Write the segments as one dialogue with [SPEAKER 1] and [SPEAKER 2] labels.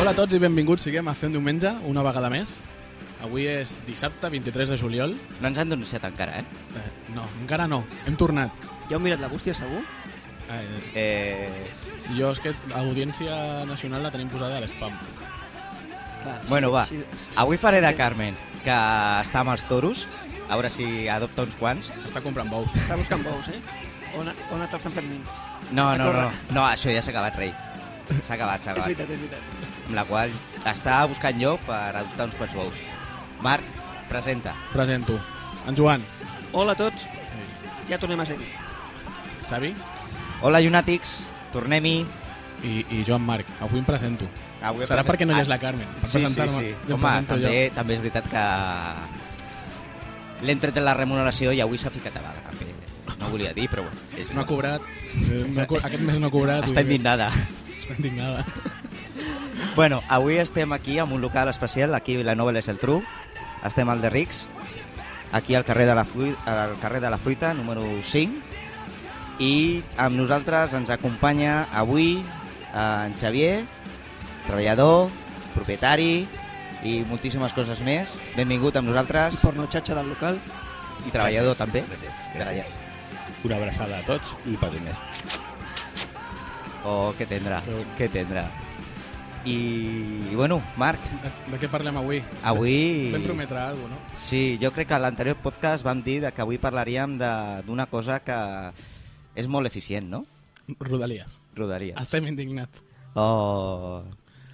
[SPEAKER 1] Hola a tots i benvinguts siguem a fer un diumenge una vegada més. Avui és dissabte, 23 de juliol.
[SPEAKER 2] No ens han denunciat encara, eh?
[SPEAKER 1] Eh, no, encara no. Hem tornat.
[SPEAKER 3] Ja heu mirat la bústia, segur?
[SPEAKER 1] Eh,
[SPEAKER 2] eh...
[SPEAKER 1] jo és que audiència nacional la tenim posada a l'espam.
[SPEAKER 3] Clar, sí,
[SPEAKER 2] Bueno, va.
[SPEAKER 3] sí, sí.
[SPEAKER 2] Avui faré de Carmen, que està amb els toros. A veure si adopta uns quants.
[SPEAKER 1] Està comprant bous.
[SPEAKER 3] Està buscant bous, eh? On, ha- on ha anat el Sant Fermín?
[SPEAKER 2] No,
[SPEAKER 3] A
[SPEAKER 2] no, no.
[SPEAKER 3] córrer.
[SPEAKER 2] No, això ja s'ha acabat, rei. S'ha acabat, s'ha
[SPEAKER 3] És
[SPEAKER 2] acabat.
[SPEAKER 3] veritat, és veritat.
[SPEAKER 2] Amb la qual està buscant lloc per adoptar uns quants bous. Marc, presenta.
[SPEAKER 1] Presento. En Joan. eh,
[SPEAKER 3] Hola a tots, ja tornem a ser-hi.
[SPEAKER 1] Xavi.
[SPEAKER 2] Hola, llunàtics. Tornem-hi.
[SPEAKER 1] I, I Joan Marc. Avui em presento.
[SPEAKER 2] Avui
[SPEAKER 1] Serà
[SPEAKER 2] presen-
[SPEAKER 1] perquè no hi és
[SPEAKER 2] Ah,
[SPEAKER 1] la Carmen. Per
[SPEAKER 2] Sí, sí,
[SPEAKER 1] presentar-me.
[SPEAKER 2] sí.
[SPEAKER 1] Jo em
[SPEAKER 2] Home,
[SPEAKER 1] presento
[SPEAKER 2] també,
[SPEAKER 1] jo.
[SPEAKER 2] també és veritat que l'hem tret de la remuneració i avui s'ha ficat a vaga. També. No volia dir, però bueno. és
[SPEAKER 1] No ha
[SPEAKER 2] igual.
[SPEAKER 1] cobrat. Eh, No ha co aquest mes no ha cobrat.
[SPEAKER 2] Està
[SPEAKER 1] vull dir-
[SPEAKER 2] indignada.
[SPEAKER 1] Està indignada.
[SPEAKER 2] Bueno, avui estem aquí amb un local especial, aquí a Vilanova és el Tru. Estem al de Rics, aquí al carrer de la, Fui, al carrer de la Fruita, número 5. I amb nosaltres ens acompanya avui eh, en Xavier, treballador, propietari i moltíssimes coses més. Benvingut amb nosaltres
[SPEAKER 3] Porno xatxa del local.
[SPEAKER 2] i treballador també. Gràcies.
[SPEAKER 4] Gràcies. Una abraçada a tots i patines.
[SPEAKER 2] Oh, que tindrà,
[SPEAKER 1] Sí.
[SPEAKER 2] que tindrà. I, i bueno, Marc,
[SPEAKER 1] De, de què parlem avui?
[SPEAKER 2] avui...
[SPEAKER 1] Vam prometre alguna cosa,
[SPEAKER 2] Sí, jo crec que a l'anterior podcast vam dir de que avui parlaríem de- d'una cosa que és molt eficient, no?
[SPEAKER 1] no? Rodalies.
[SPEAKER 2] Rodalies.
[SPEAKER 1] Estem indignats.
[SPEAKER 2] Oh,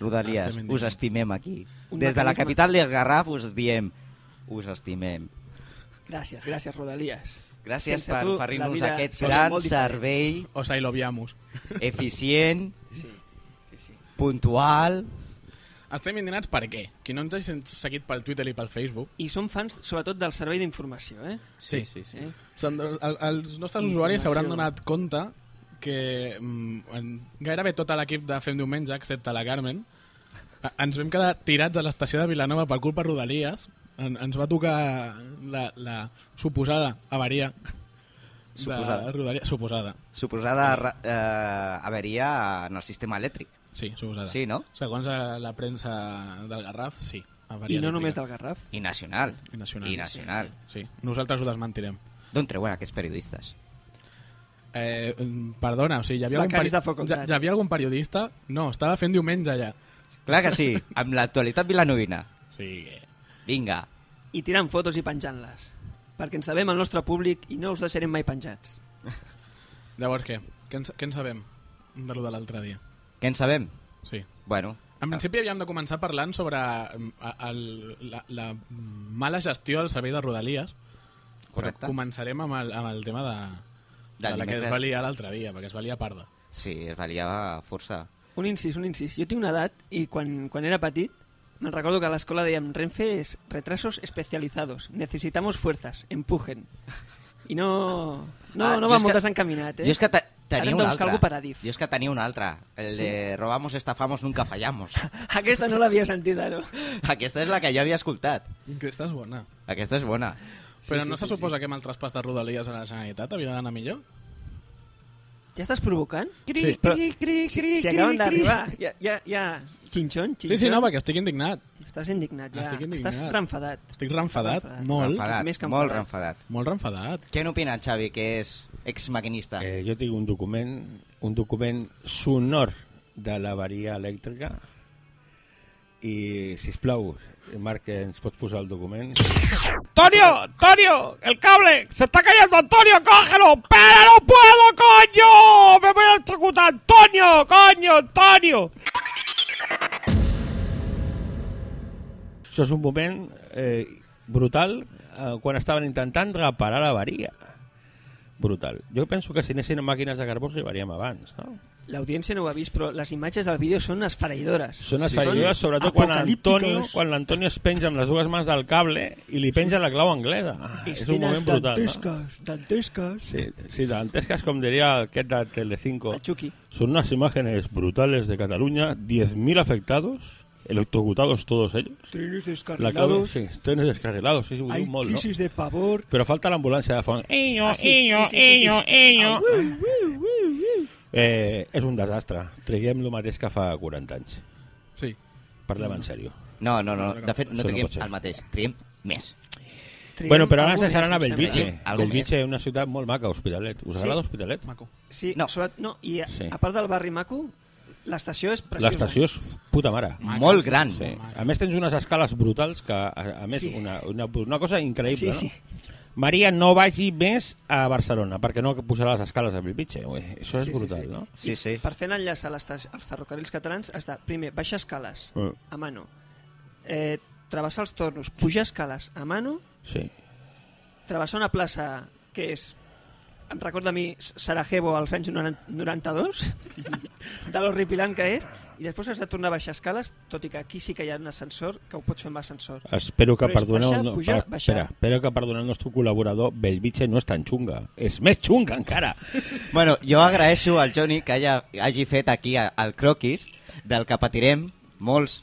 [SPEAKER 2] Rodalies,
[SPEAKER 1] Estem
[SPEAKER 2] us
[SPEAKER 1] indignats.
[SPEAKER 2] estimem aquí.
[SPEAKER 3] Un
[SPEAKER 2] Des de la
[SPEAKER 3] mecanisme-
[SPEAKER 2] capital del Garraf us diem, us estimem.
[SPEAKER 3] Gràcies, gràcies, Rodalies.
[SPEAKER 2] Gràcies
[SPEAKER 3] Sense
[SPEAKER 2] per
[SPEAKER 3] tu, la
[SPEAKER 2] oferir-nos
[SPEAKER 3] vida
[SPEAKER 2] aquest
[SPEAKER 3] seria
[SPEAKER 2] gran
[SPEAKER 3] molt diferent.
[SPEAKER 2] servei
[SPEAKER 1] O sigui, lo viamos.
[SPEAKER 2] eficient,
[SPEAKER 3] Sí, sí, sí.
[SPEAKER 2] puntual...
[SPEAKER 1] Estem indignats per què? Qui no ens hagi seguit pel Twitter i pel Facebook
[SPEAKER 3] I som fans, sobretot, del servei d'informació, eh?
[SPEAKER 1] Sí.
[SPEAKER 4] sí, sí.
[SPEAKER 3] eh?
[SPEAKER 1] són, de- el, els nostres usuaris s'hauran
[SPEAKER 3] Informació.
[SPEAKER 1] donat compte que mm, en- gairebé tot l'equip de Fem Diumenge, excepte la Carmen, a- ens vam quedar tirats a l'estació de Vilanova per culpa de Rodalies. En, ens va tocar la, la suposada avaria de
[SPEAKER 2] Suposada.
[SPEAKER 1] Rodalies. Suposada.
[SPEAKER 2] Suposada ra- eh, averia en el sistema elèctric.
[SPEAKER 1] Sí, suposada.
[SPEAKER 2] Sí, no?
[SPEAKER 1] Segons eh, la premsa del Garraf, sí. avaria
[SPEAKER 3] I no només
[SPEAKER 1] elèctrica.
[SPEAKER 3] del Garraf.
[SPEAKER 2] I nacional.
[SPEAKER 1] I nacional.
[SPEAKER 2] I nacional.
[SPEAKER 1] Sí, nosaltres ho desmentirem.
[SPEAKER 2] D'on treuen aquests periodistes?
[SPEAKER 1] Eh, mm, perdona, o sigui, hi havia, algun
[SPEAKER 3] Becaris de
[SPEAKER 1] hi,
[SPEAKER 3] facultat.
[SPEAKER 1] hi havia algun periodista... No, estava fent diumenge allà.
[SPEAKER 2] Clar que sí, amb l'actualitat vilanovina.
[SPEAKER 1] O sigui, que-
[SPEAKER 2] Vinga.
[SPEAKER 3] I tirant fotos i penjant-les. Perquè ens sabem el nostre públic i no us deixarem mai penjats.
[SPEAKER 1] llavors què? Què en, què en sabem de lo de l'altre dia?
[SPEAKER 2] Què en sabem?
[SPEAKER 1] Sí.
[SPEAKER 2] Bueno, eh,
[SPEAKER 1] En principi havíem de començar parlant sobre mm, a- el, la, la mala gestió del servei de Rodalies. Però
[SPEAKER 2] Correcte.
[SPEAKER 1] Començarem amb el, amb el tema de,
[SPEAKER 2] Del
[SPEAKER 1] de la que es
[SPEAKER 2] dimecres.
[SPEAKER 1] va liar l'altre dia, perquè es va liar parda.
[SPEAKER 2] sí, es valia força.
[SPEAKER 3] Un incís, un incís. Jo tinc una edat i quan, quan era petit me'n recordo que a l'escola dèiem Renfe és retrasos especializados, necesitamos fuerzas, empujen. I no, no,
[SPEAKER 2] Ah,
[SPEAKER 3] no
[SPEAKER 2] jo
[SPEAKER 3] va
[SPEAKER 2] és
[SPEAKER 3] molt
[SPEAKER 2] que-
[SPEAKER 3] desencaminat, eh?
[SPEAKER 2] Jo és que te-
[SPEAKER 3] Ara
[SPEAKER 2] tenia
[SPEAKER 3] hem
[SPEAKER 2] un
[SPEAKER 3] de buscar
[SPEAKER 2] altre.
[SPEAKER 3] algú per a DIF.
[SPEAKER 2] Jo és que tenia un altre. El de robamos, estafamos, nunca fallamos.
[SPEAKER 3] Aquesta no l'havia sentida, no?
[SPEAKER 2] Aquesta és la que jo havia escoltat.
[SPEAKER 1] Aquesta és bona.
[SPEAKER 2] Aquesta és bona.
[SPEAKER 1] Però no se suposa que amb el traspàs de Rodalies a la Generalitat havia d'anar millor?
[SPEAKER 3] Ja estàs provocant?
[SPEAKER 1] Sí.
[SPEAKER 3] Però si, si acaben d'arribar, ja, ja, ja... Xinxon, xinxon.
[SPEAKER 1] Sí, sí, no, perquè estic indignat.
[SPEAKER 3] Estàs indignat, ja.
[SPEAKER 1] Estic indignat.
[SPEAKER 3] Estàs renfadat.
[SPEAKER 1] Estic renfadat,
[SPEAKER 3] Renfadat.
[SPEAKER 1] molt.
[SPEAKER 2] Renfadat,
[SPEAKER 3] És més que
[SPEAKER 2] molt
[SPEAKER 3] enfadat.
[SPEAKER 2] renfadat.
[SPEAKER 1] Molt renfadat.
[SPEAKER 2] Què n'opina el Xavi, que és exmaquinista?
[SPEAKER 4] Eh, jo tinc un document, un document sonor de la varia elèctrica i, si plau, Marc, ens pots posar el document?
[SPEAKER 5] Antonio, Antonio, el cable, se está cayendo, Antonio, cógelo, pero no puedo, coño, me voy a electrocutar, Antonio, coño, Antonio.
[SPEAKER 4] Això és un moment eh, brutal eh, quan estaven intentant reparar la varia. Brutal. Jo penso que si anessin a màquines de carbó arribaríem abans, no?
[SPEAKER 3] L'audiència no ho ha vist, però les imatges del vídeo són esfereïdores.
[SPEAKER 4] Són esfereïdores, sí, sobretot quan l'Antonio quan l'Antonio es penja amb les dues mans del cable i li penja la clau anglesa. Ah, és un moment brutal, no?
[SPEAKER 3] dantesques.
[SPEAKER 4] Sí, sí, dantescas, com diria aquest de Telecinco.
[SPEAKER 3] El Chucky.
[SPEAKER 4] Son unas imágenes brutales de Cataluña, 10.000 afectados, electrocutados todos ellos.
[SPEAKER 3] Trenes
[SPEAKER 4] La clave, sí, trenes descarrilados, sí, sí, un mol, ¿no?
[SPEAKER 3] de pavor.
[SPEAKER 4] Pero falta la ambulancia de fondo.
[SPEAKER 5] Eño,
[SPEAKER 3] Ah, sí,
[SPEAKER 5] eño,
[SPEAKER 3] sí, sí, sí, sí.
[SPEAKER 5] eño, eño.
[SPEAKER 4] Eh, és un desastre. Traguem el mateix que fa 40 anys.
[SPEAKER 1] Sí.
[SPEAKER 4] parlem en sèrio.
[SPEAKER 2] No, no, no. De fet, no
[SPEAKER 4] Això no
[SPEAKER 2] triem
[SPEAKER 4] pot ser.
[SPEAKER 2] el mateix. Triem més.
[SPEAKER 3] Triem
[SPEAKER 4] Bueno, però ara
[SPEAKER 3] algun
[SPEAKER 4] se
[SPEAKER 3] mes,
[SPEAKER 4] seran a
[SPEAKER 3] em
[SPEAKER 4] Belvitge.
[SPEAKER 3] sembla.
[SPEAKER 2] Algun
[SPEAKER 4] Belvitge és una ciutat molt maca, Hospitalet. Us
[SPEAKER 3] Sí.
[SPEAKER 4] agrada Hospitalet?
[SPEAKER 1] Maco.
[SPEAKER 3] Sí,
[SPEAKER 2] No.
[SPEAKER 3] no. Sobre, no i a,
[SPEAKER 4] Sí.
[SPEAKER 3] a part del barri maco, l'estació és preciosa.
[SPEAKER 4] L'estació és puta mare.
[SPEAKER 2] Molt gran.
[SPEAKER 4] Sí. A més, tens unes escales brutals que, a, a més,
[SPEAKER 3] Sí.
[SPEAKER 4] una, una, una cosa increïble,
[SPEAKER 3] Sí,
[SPEAKER 4] no? Maria, no vagi més a Barcelona, perquè no posarà les escales a Belvitge. Ui, això
[SPEAKER 3] Sí,
[SPEAKER 4] és
[SPEAKER 3] sí,
[SPEAKER 4] brutal,
[SPEAKER 3] sí.
[SPEAKER 4] no?
[SPEAKER 2] Sí, sí.
[SPEAKER 3] Per fer l'enllaç a l'esta- als ferrocarrils catalans està, primer, baixar escales
[SPEAKER 4] Mm.
[SPEAKER 3] a mano, eh, travessar els tornos, pujar escales a mano,
[SPEAKER 4] Sí.
[SPEAKER 3] travessar una plaça que és em recorda a mi Sarajevo als anys 90 92 de l'horripilant que és i després has de tornar a baixar escales tot i que aquí sí que hi ha un ascensor que ho pots fer amb ascensor
[SPEAKER 4] Espero que
[SPEAKER 3] Però és
[SPEAKER 4] perdoneu...
[SPEAKER 3] baixar, pujar,
[SPEAKER 4] per-
[SPEAKER 3] baixar.
[SPEAKER 4] espera, espero que perdoneu el nostre col·laborador. Belvitge no és tan xunga. És més xunga, encara.
[SPEAKER 2] Bueno, jo agraeixo al Joni que haya, hagi fet aquí a- el croquis del que patirem molts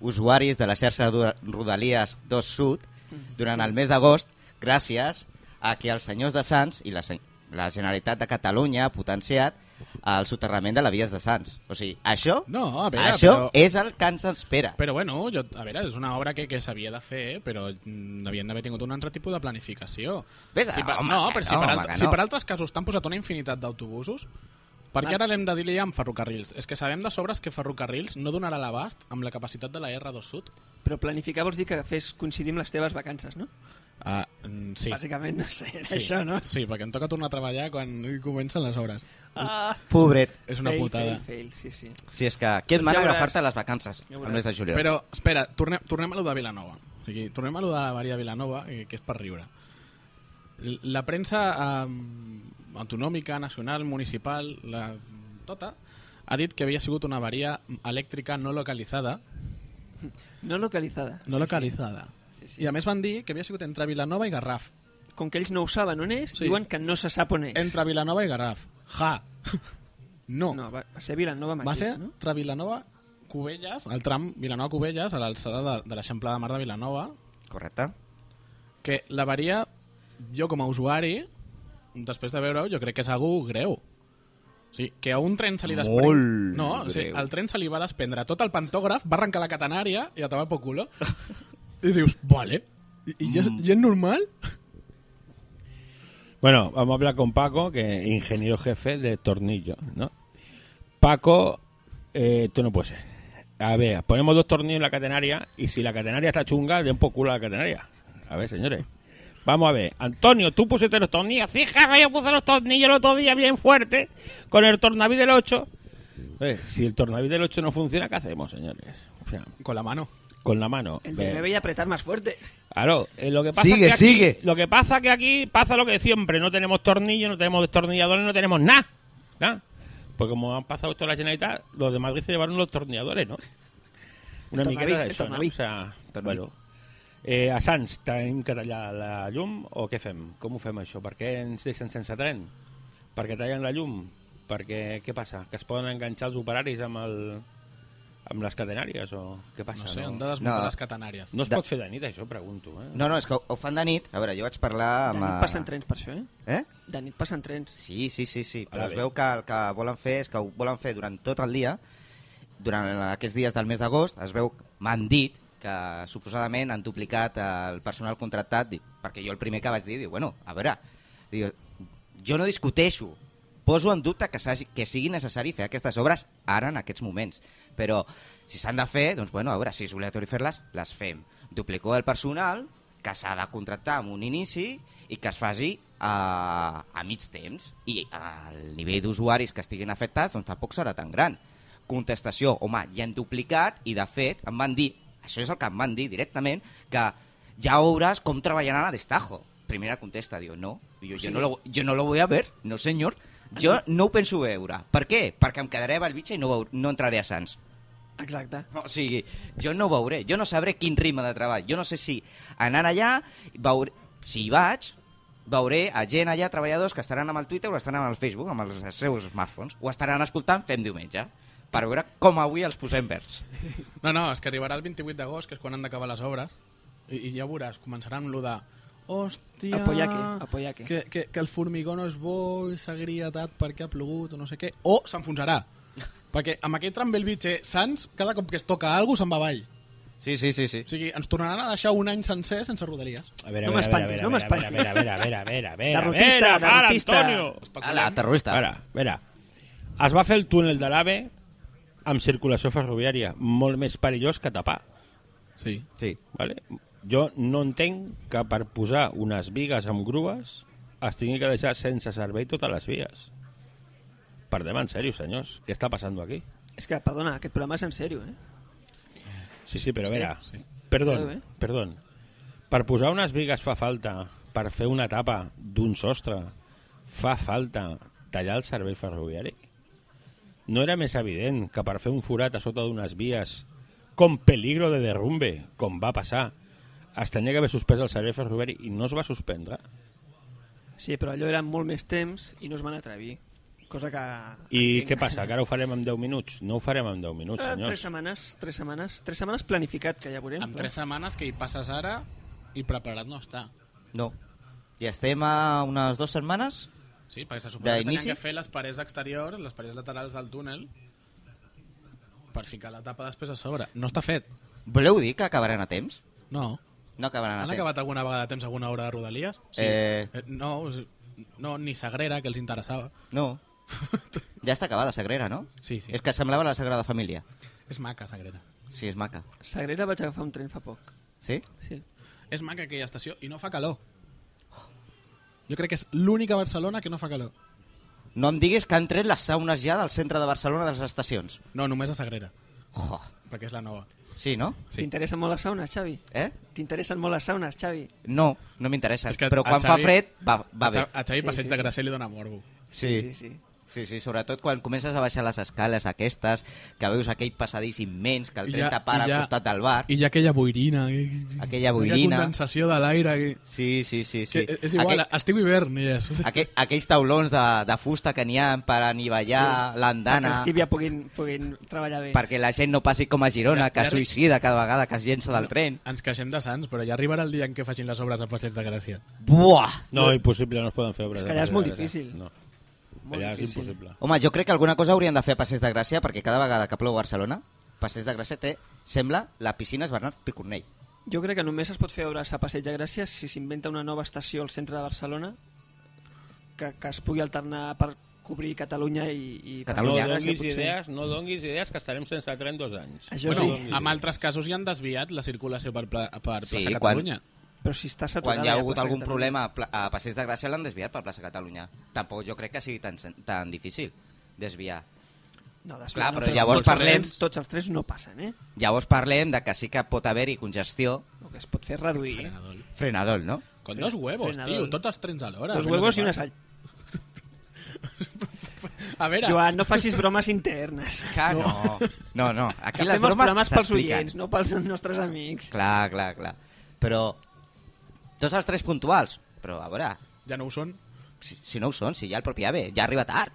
[SPEAKER 2] usuaris de la xarxa du- Rodalies 2 Sud durant el mes d'agost gràcies a que els senyors de Sants i la, se- la Generalitat de Catalunya ha potenciat el soterrament de la vies de Sants. O sigui, això,
[SPEAKER 1] No, a veure,
[SPEAKER 2] això
[SPEAKER 1] però-
[SPEAKER 2] és el que ens espera.
[SPEAKER 1] Però bueno, jo, a veure, és una obra que, que s'havia de fer, però mm, havien d'haver tingut un altre tipus de planificació.
[SPEAKER 2] Ves a-
[SPEAKER 1] si per,
[SPEAKER 2] home,
[SPEAKER 1] no,
[SPEAKER 2] que
[SPEAKER 1] però si,
[SPEAKER 2] no,
[SPEAKER 1] per
[SPEAKER 2] home,
[SPEAKER 1] alt,
[SPEAKER 2] que
[SPEAKER 1] si
[SPEAKER 2] no.
[SPEAKER 1] per altres casos t'han posat una infinitat d'autobusos, per
[SPEAKER 2] Ah.
[SPEAKER 1] què ara l'hem de dir-li amb ferrocarrils? És que sabem de sobres que ferrocarrils no donarà l'abast amb la capacitat de la R2 Sud.
[SPEAKER 3] però planificar vols dir que fes coincidir amb les teves vacances, no?
[SPEAKER 1] Ah, mm, sí.
[SPEAKER 3] Bàsicament, no sé, era
[SPEAKER 1] sí.
[SPEAKER 3] això, no?
[SPEAKER 1] Sí, perquè em toca tornar a treballar quan comencen les obres.
[SPEAKER 3] Ah,
[SPEAKER 2] Pobret,
[SPEAKER 1] És una
[SPEAKER 3] fail,
[SPEAKER 1] putada.
[SPEAKER 3] Fail, fail, sí, sí.
[SPEAKER 2] si és que... Qui et
[SPEAKER 3] Doncs Ja
[SPEAKER 2] mana
[SPEAKER 3] veuràs.
[SPEAKER 2] agafar-te les vacances
[SPEAKER 3] Ja
[SPEAKER 2] el
[SPEAKER 3] veuràs.
[SPEAKER 2] mes de juliol?
[SPEAKER 1] Però, espera, tornem, tornem a lo de Vilanova. O sigui, tornem a lo de la Maria Vilanova, eh, que és per riure. L- La premsa eh, autonòmica, nacional, municipal, la, tota, ha dit que havia sigut una avaria elèctrica no localitzada.
[SPEAKER 3] No localitzada.
[SPEAKER 1] No localitzada. Sí, sí. I a més van dir que havia sigut entre Vilanova i Garraf.
[SPEAKER 3] Com que ells no ho saben on és,
[SPEAKER 1] Sí.
[SPEAKER 3] sí. diuen que no se sap on és.
[SPEAKER 1] Entre Vilanova i Garraf. Ja! No.
[SPEAKER 3] No, va, va ser Vilanova
[SPEAKER 1] Va
[SPEAKER 3] mateix,
[SPEAKER 1] ser
[SPEAKER 3] no?
[SPEAKER 1] entre Vilanova Cubelles, el tram Vilanova-Cubelles, a l'alçada de, de l'Eixample de Mar de Vilanova,
[SPEAKER 2] Correcte.
[SPEAKER 1] que la varia, jo com a usuari, després de veure-ho, jo crec que és algú greu. O sigui, que a un tren se li desprèn...
[SPEAKER 2] Molt
[SPEAKER 1] no, o sigui,
[SPEAKER 2] greu.
[SPEAKER 1] el tren se li va desprendre tot el pantògraf, va arrencar la catenària i a tomar por culo. I dius, vale, i, i
[SPEAKER 2] Mm.
[SPEAKER 1] ja, és- ja és normal?
[SPEAKER 4] Bueno, vamos a hablar con Paco, que es ingeniero jefe de tornillos, ¿no? Paco, eh, tú no puedes ser. A ver, ponemos dos tornillos en la catenaria y si la catenaria está chunga, den por culo a la catenaria. A ver, señores. Vamos a ver. Antonio, tú pusiste los tornillos. Sí, jefe, yo puse los tornillos el otro día bien fuerte con el tornavid del 8. Eh, si el tornavid del 8 no funciona, ¿qué hacemos, señores? O sea,
[SPEAKER 1] Con la mano.
[SPEAKER 4] con la mano.
[SPEAKER 3] El
[SPEAKER 4] Ve-
[SPEAKER 3] de me veía apretar más fuerte.
[SPEAKER 4] Claro, eh, lo que pasa
[SPEAKER 2] Sigue,
[SPEAKER 4] es que aquí,
[SPEAKER 2] sigue.
[SPEAKER 4] lo que pasa que aquí pasa lo que siempre, no tenemos tornillos, no tenemos destornilladores, no tenemos nada, nada. Pues como han pasado esto en la Generalitat, los de Madrid se llevaron los tornilladores, ¿no? Una
[SPEAKER 3] El tornaví,
[SPEAKER 4] miqueta
[SPEAKER 3] el
[SPEAKER 4] d'això, no?
[SPEAKER 3] tornaví.
[SPEAKER 4] O sea, bueno. Eh, a Sants, tenim que tallar la llum o què fem? Com ho fem això? Per què ens deixen sense tren? Perquè tallen la llum? Perquè què passa? Que es poden enganxar els operaris amb el amb les catenàries o què passa?
[SPEAKER 1] No sé, han de desmuntar
[SPEAKER 2] Ah, No.
[SPEAKER 1] les catenàries.
[SPEAKER 4] no es
[SPEAKER 2] de-
[SPEAKER 4] pot fer de nit, això, pregunto. Eh?
[SPEAKER 2] No, no, és que ho- ho fan de nit. A veure, jo vaig parlar
[SPEAKER 3] De
[SPEAKER 2] amb...
[SPEAKER 3] nit
[SPEAKER 2] eh,
[SPEAKER 3] passen trens per això, eh?
[SPEAKER 2] Eh?
[SPEAKER 3] De nit passen trens.
[SPEAKER 2] Sí, sí, sí, sí. Però
[SPEAKER 4] Ara
[SPEAKER 2] es
[SPEAKER 4] bé.
[SPEAKER 2] veu que el que volen fer és que ho volen fer durant tot el dia, durant aquests dies del mes d'agost, es veu, m'han dit que suposadament han duplicat el personal contractat, dic, perquè jo el primer que vaig dir, diu, bueno, a veure, diu, jo no discuteixo, poso en dubte que, s'hagi- que sigui necessari fer aquestes obres ara, en aquests moments, però si s'han de fer, doncs bueno, a veure, si és obligatori fer-les, les fem. Duplico el personal, que s'ha de contractar amb un inici i que es faci a, a mig temps i el nivell d'usuaris que estiguin afectats doncs tampoc serà tan gran contestació, home, ja hem duplicat i de fet em van dir, això és el que em van dir directament, que ja veuràs com treballaran a destajo. Primera contesta, diu, no, diu, jo, no lo, jo no lo voy a ver, no senyor, jo no ho penso veure. Per què? Perquè em quedaré a Valbitxa i no, veu- no entraré a Sants.
[SPEAKER 3] Exacte.
[SPEAKER 2] O sigui, jo no ho veuré, jo no sabré quin ritme de treball. Jo no sé si anant allà, veuré, si hi vaig, veuré a gent allà, treballadors, que estaran amb el Twitter o estaran amb el Facebook, amb els seus smartphones, o estaran escoltant Fem Diumenge, per veure com avui els posem verds.
[SPEAKER 1] No, no, és que arribarà el 28 d'agost, que és quan han d'acabar les obres, i, i ja veuràs, començarà amb lo de... Hòstia...
[SPEAKER 3] Apoyaque, apoyaque.
[SPEAKER 1] Que, que, que el formigó no és bo i s'ha grietat perquè ha plogut o no sé què. O s'enfonsarà. Perquè amb aquell tram del bitxe, Sants, cada cop que es toca alguna cosa se'n va avall.
[SPEAKER 2] Sí, sí, sí, sí.
[SPEAKER 1] O sigui, ens tornaran a deixar un any sencer sense rodalies.
[SPEAKER 4] A ver, a
[SPEAKER 3] No me
[SPEAKER 4] ver, a ver,
[SPEAKER 3] espantes,
[SPEAKER 4] a ver,
[SPEAKER 3] no
[SPEAKER 4] a
[SPEAKER 3] me
[SPEAKER 4] ver, a
[SPEAKER 3] espantes.
[SPEAKER 4] ver, A ver, a ver, a ver, a ver, a ver,
[SPEAKER 3] Derrotista,
[SPEAKER 4] a ver, para,
[SPEAKER 3] derrotista.
[SPEAKER 4] Antonio.
[SPEAKER 2] Ala, terrorista.
[SPEAKER 4] Ara, a veure, es va fer el túnel de l'AVE amb circulació ferroviària, molt més perillós que tapar.
[SPEAKER 1] Sí.
[SPEAKER 2] Sí.
[SPEAKER 4] Vale? Jo no entenc que per posar unes vigues amb grues es tingui que deixar sense servei totes les vies. Perdem en sèrio, senyors. Què està passant aquí?
[SPEAKER 3] És que, perdona, aquest programa és en sèrio, eh?
[SPEAKER 4] Sí, sí, però a veure... Perdón,
[SPEAKER 3] Claro, eh?
[SPEAKER 4] perdón. Per posar unes vigues fa falta, per fer una tapa d'un sostre, fa falta tallar el servei ferroviari. No era més evident que per fer un forat a sota d'unes vies com peligro de derrumbe, com va passar, es tenia que haver suspès el servei ferroviari i no es va suspendre.
[SPEAKER 3] Sí, però allò era molt més temps i no es van atrevir. Cosa que...
[SPEAKER 4] I
[SPEAKER 3] entenc.
[SPEAKER 4] què passa, que ara ho farem en 10 minuts? No ho farem en 10
[SPEAKER 3] Eh,
[SPEAKER 4] minuts,
[SPEAKER 3] tres
[SPEAKER 4] senyors.
[SPEAKER 3] setmanes, tres setmanes, tres setmanes planificat, que ja veurem.
[SPEAKER 1] Amb
[SPEAKER 3] clar.
[SPEAKER 1] tres setmanes que hi passes ara i preparat no està.
[SPEAKER 2] No. I estem a unes dues setmanes?
[SPEAKER 1] Sí, perquè se suposa que
[SPEAKER 2] D'inici?
[SPEAKER 1] tenien que fer les parets exteriors, les parets laterals del túnel, per ficar la tapa després a sobre. No està fet.
[SPEAKER 2] Voleu dir que acabaran a temps?
[SPEAKER 1] No.
[SPEAKER 2] No acabaran a
[SPEAKER 1] Han
[SPEAKER 2] temps.
[SPEAKER 1] acabat alguna vegada a temps alguna hora de Rodalies?
[SPEAKER 2] Ah, Eh.
[SPEAKER 1] No, o sigui, no, ni Sagrera, que els interessava.
[SPEAKER 2] No. Ja està acabada, Sagrera, no?
[SPEAKER 1] Sí, sí.
[SPEAKER 2] És que semblava la Sagrada Família.
[SPEAKER 1] És maca, Sagrera.
[SPEAKER 2] Sí, és maca.
[SPEAKER 3] Sagrera vaig agafar un tren fa poc.
[SPEAKER 2] Sí?
[SPEAKER 3] Sí.
[SPEAKER 1] És maca aquella estació i no fa calor. Jo crec que és l'única Barcelona que no fa calor.
[SPEAKER 2] No em diguis que han tret les saunes ja del centre de Barcelona de les estacions.
[SPEAKER 1] No, només a Sagrera,
[SPEAKER 2] Jo.
[SPEAKER 1] perquè és la nova.
[SPEAKER 2] Sí, no?
[SPEAKER 1] Sí.
[SPEAKER 3] T'interessen molt les saunes, Xavi?
[SPEAKER 2] Eh?
[SPEAKER 3] T'interessen molt les saunes, Xavi?
[SPEAKER 2] No, no m'interessa.
[SPEAKER 1] És que
[SPEAKER 2] Però
[SPEAKER 1] a
[SPEAKER 2] quan fa
[SPEAKER 1] Xavi-
[SPEAKER 2] fred, va, va
[SPEAKER 1] a,
[SPEAKER 2] bé.
[SPEAKER 1] Xa- a Xavi Ah,
[SPEAKER 3] Sí,
[SPEAKER 1] Passeig
[SPEAKER 3] sí,
[SPEAKER 1] de
[SPEAKER 3] sí.
[SPEAKER 1] Gràcia li dona morbo.
[SPEAKER 3] sí, sí.
[SPEAKER 2] Sí, sí, sobretot quan comences a baixar les escales aquestes, que veus aquell passadís immens, que el tren ja, para
[SPEAKER 1] i
[SPEAKER 2] al costat del bar.
[SPEAKER 1] I hi ha aquella boirina. i- i-
[SPEAKER 2] Aquella boirina.
[SPEAKER 1] Aquella condensació de l'aire. Que,
[SPEAKER 2] Sí, sí, sí. sí.
[SPEAKER 1] sí. que és igual,
[SPEAKER 2] Aquell,
[SPEAKER 1] estiu i hivern. I és.
[SPEAKER 2] aquell, aquells taulons de, de fusta que n'hi ha per anivellar sí.
[SPEAKER 3] Perquè
[SPEAKER 2] l'andana,
[SPEAKER 3] els tibia puguin, puguin treballar bé.
[SPEAKER 2] perquè la gent no passi com a Girona,
[SPEAKER 1] Ja-
[SPEAKER 2] que
[SPEAKER 1] ja
[SPEAKER 2] es
[SPEAKER 1] arri-
[SPEAKER 2] suïcida cada vegada que es llença del tren.
[SPEAKER 1] Ens queixem de Sants, però ja arribarà el dia en què facin les obres a Passeig de Gràcia.
[SPEAKER 2] Buah!
[SPEAKER 4] No, impossible, no es poden fer obres.
[SPEAKER 3] És que allà és
[SPEAKER 4] de
[SPEAKER 3] molt
[SPEAKER 4] carretera.
[SPEAKER 3] difícil.
[SPEAKER 4] No.
[SPEAKER 3] Molt
[SPEAKER 4] Allà és
[SPEAKER 3] difícil.
[SPEAKER 4] impossible.
[SPEAKER 2] Home, jo crec que alguna cosa haurien de fer a Passeig de Gràcia, perquè cada vegada que plou a Barcelona, Passeig de Gràcia té, sembla, la piscina és Bernat Picornell.
[SPEAKER 3] Jo crec que només es pot fer obres a Passeig de Gràcia si s'inventa una nova estació al centre de Barcelona que, que es pugui alternar per cobrir Catalunya i, i
[SPEAKER 4] No
[SPEAKER 2] Catalunya.
[SPEAKER 3] Passeig de Gràcia,
[SPEAKER 4] donguis
[SPEAKER 3] potser.
[SPEAKER 4] idees, no donguis idees que estarem sense tren dos anys.
[SPEAKER 3] Això
[SPEAKER 1] Bueno,
[SPEAKER 3] sí,
[SPEAKER 1] amb altres casos ja han desviat la circulació per, pla, per
[SPEAKER 2] Sí,
[SPEAKER 1] plaça
[SPEAKER 2] quan-
[SPEAKER 1] Catalunya.
[SPEAKER 3] però si està saturada...
[SPEAKER 2] Quan hi ha
[SPEAKER 3] ja
[SPEAKER 2] hagut
[SPEAKER 3] Passeig
[SPEAKER 2] algun
[SPEAKER 3] de Gràcia.
[SPEAKER 2] problema a, pla- a Passeig de Gràcia l'han desviat per plaça Catalunya. Tampoc jo crec que sigui tan, sen- tan difícil desviar.
[SPEAKER 3] No, després,
[SPEAKER 2] Clar,
[SPEAKER 3] no,
[SPEAKER 2] però llavors
[SPEAKER 3] tots els
[SPEAKER 2] parlem-
[SPEAKER 3] trens- Tots els tres no passen, eh?
[SPEAKER 2] Llavors parlem de que sí que pot haver-hi congestió.
[SPEAKER 3] El que es pot fer és reduir. eh?
[SPEAKER 1] Frenadol.
[SPEAKER 2] Frenadol, no?
[SPEAKER 1] Con dos huevos,
[SPEAKER 3] Frenadol.
[SPEAKER 1] tio, tots els trens alhora.
[SPEAKER 3] Dos
[SPEAKER 1] a veure
[SPEAKER 3] huevos
[SPEAKER 1] què
[SPEAKER 3] i una
[SPEAKER 1] passa.
[SPEAKER 3] sall.
[SPEAKER 1] A veure,
[SPEAKER 3] Joan, no facis bromes internes.
[SPEAKER 2] Que no. No, no. Aquí
[SPEAKER 3] Que
[SPEAKER 2] les
[SPEAKER 3] fem els
[SPEAKER 2] bromes
[SPEAKER 3] programes pels
[SPEAKER 2] s'expliquen. Ah.
[SPEAKER 3] oients, no pels nostres amics.
[SPEAKER 2] Clar, clar, clar. Però tots els tres puntuals. Però a veure,
[SPEAKER 1] ja no ho són.
[SPEAKER 2] si, si no ho són, si ja el propi AVE ja arriba tard.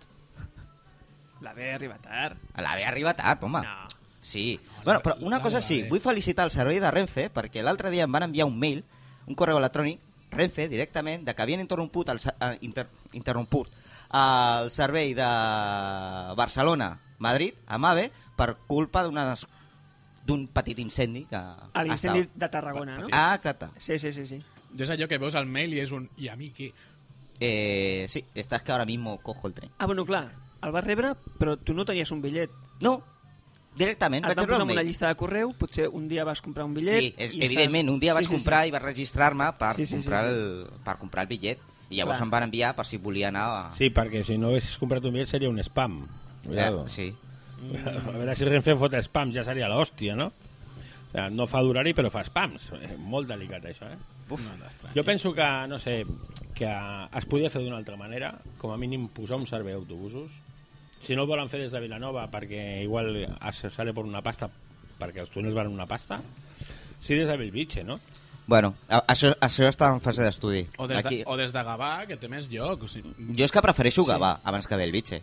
[SPEAKER 3] La B arriba tard.
[SPEAKER 2] L'AVE arriba tard, home.
[SPEAKER 3] No.
[SPEAKER 2] Sí. bueno, però una
[SPEAKER 1] la-
[SPEAKER 2] cosa
[SPEAKER 1] la-
[SPEAKER 2] sí,
[SPEAKER 1] la-
[SPEAKER 2] vull felicitar el servei de Renfe perquè l'altre dia em van enviar un mail, un correu electrònic, Renfe, directament, de que havien interromput el, se- eh, inter, interromput eh, el servei de Barcelona-Madrid, a MAVE, per culpa d'unes- d'un petit incendi que...
[SPEAKER 3] A l'incendi
[SPEAKER 2] estava-
[SPEAKER 3] de Tarragona, no?
[SPEAKER 2] Ah, exacte.
[SPEAKER 3] Sí, sí, sí, sí.
[SPEAKER 1] Ja és allò que veus al mail i és un... I a mi què?
[SPEAKER 2] Eh, sí, estás que ahora mismo cojo el tren.
[SPEAKER 3] Ah, bueno, clar, el vas rebre, però tu no tenies un bitllet.
[SPEAKER 2] No, directament.
[SPEAKER 3] Et
[SPEAKER 2] vaig
[SPEAKER 3] van
[SPEAKER 2] rebre
[SPEAKER 3] posar
[SPEAKER 2] un
[SPEAKER 3] en una
[SPEAKER 2] mail.
[SPEAKER 3] llista de correu, potser un dia vas comprar un bitllet...
[SPEAKER 2] Sí, és,
[SPEAKER 3] i estàs-
[SPEAKER 2] evidentment, un dia vaig comprar i vaig registrar-me per,
[SPEAKER 3] Sí, sí, sí,
[SPEAKER 2] comprar
[SPEAKER 3] sí.
[SPEAKER 2] El, per comprar el bitllet i llavors
[SPEAKER 3] Clar.
[SPEAKER 2] em van enviar per si volia anar a...
[SPEAKER 4] Sí, perquè si no haguessis comprat un bitllet seria un spam.
[SPEAKER 2] Eh,
[SPEAKER 4] Cuidado.
[SPEAKER 2] sí.
[SPEAKER 4] A veure si Renfe fot spams, ja seria l'hòstia, no? O sea, no fa d'horari, però fa spams. Eh, Molt delicat, això, eh?
[SPEAKER 1] Uf. No, t'estrany.
[SPEAKER 4] Jo penso que, no sé, que es podia fer d'una altra manera, com a mínim posar un servei d'autobusos. Si no el volen fer des de Vilanova, perquè igual es sale per una pasta, perquè els túnels van una pasta, sí des de Belvitge, no?
[SPEAKER 2] Bueno, a- això, això està en fase d'estudi.
[SPEAKER 1] O des, de,
[SPEAKER 2] Aquí-
[SPEAKER 1] o des de Gavà, que té més lloc. O sigui,
[SPEAKER 2] Jo és que prefereixo Gavà abans que Belvitge.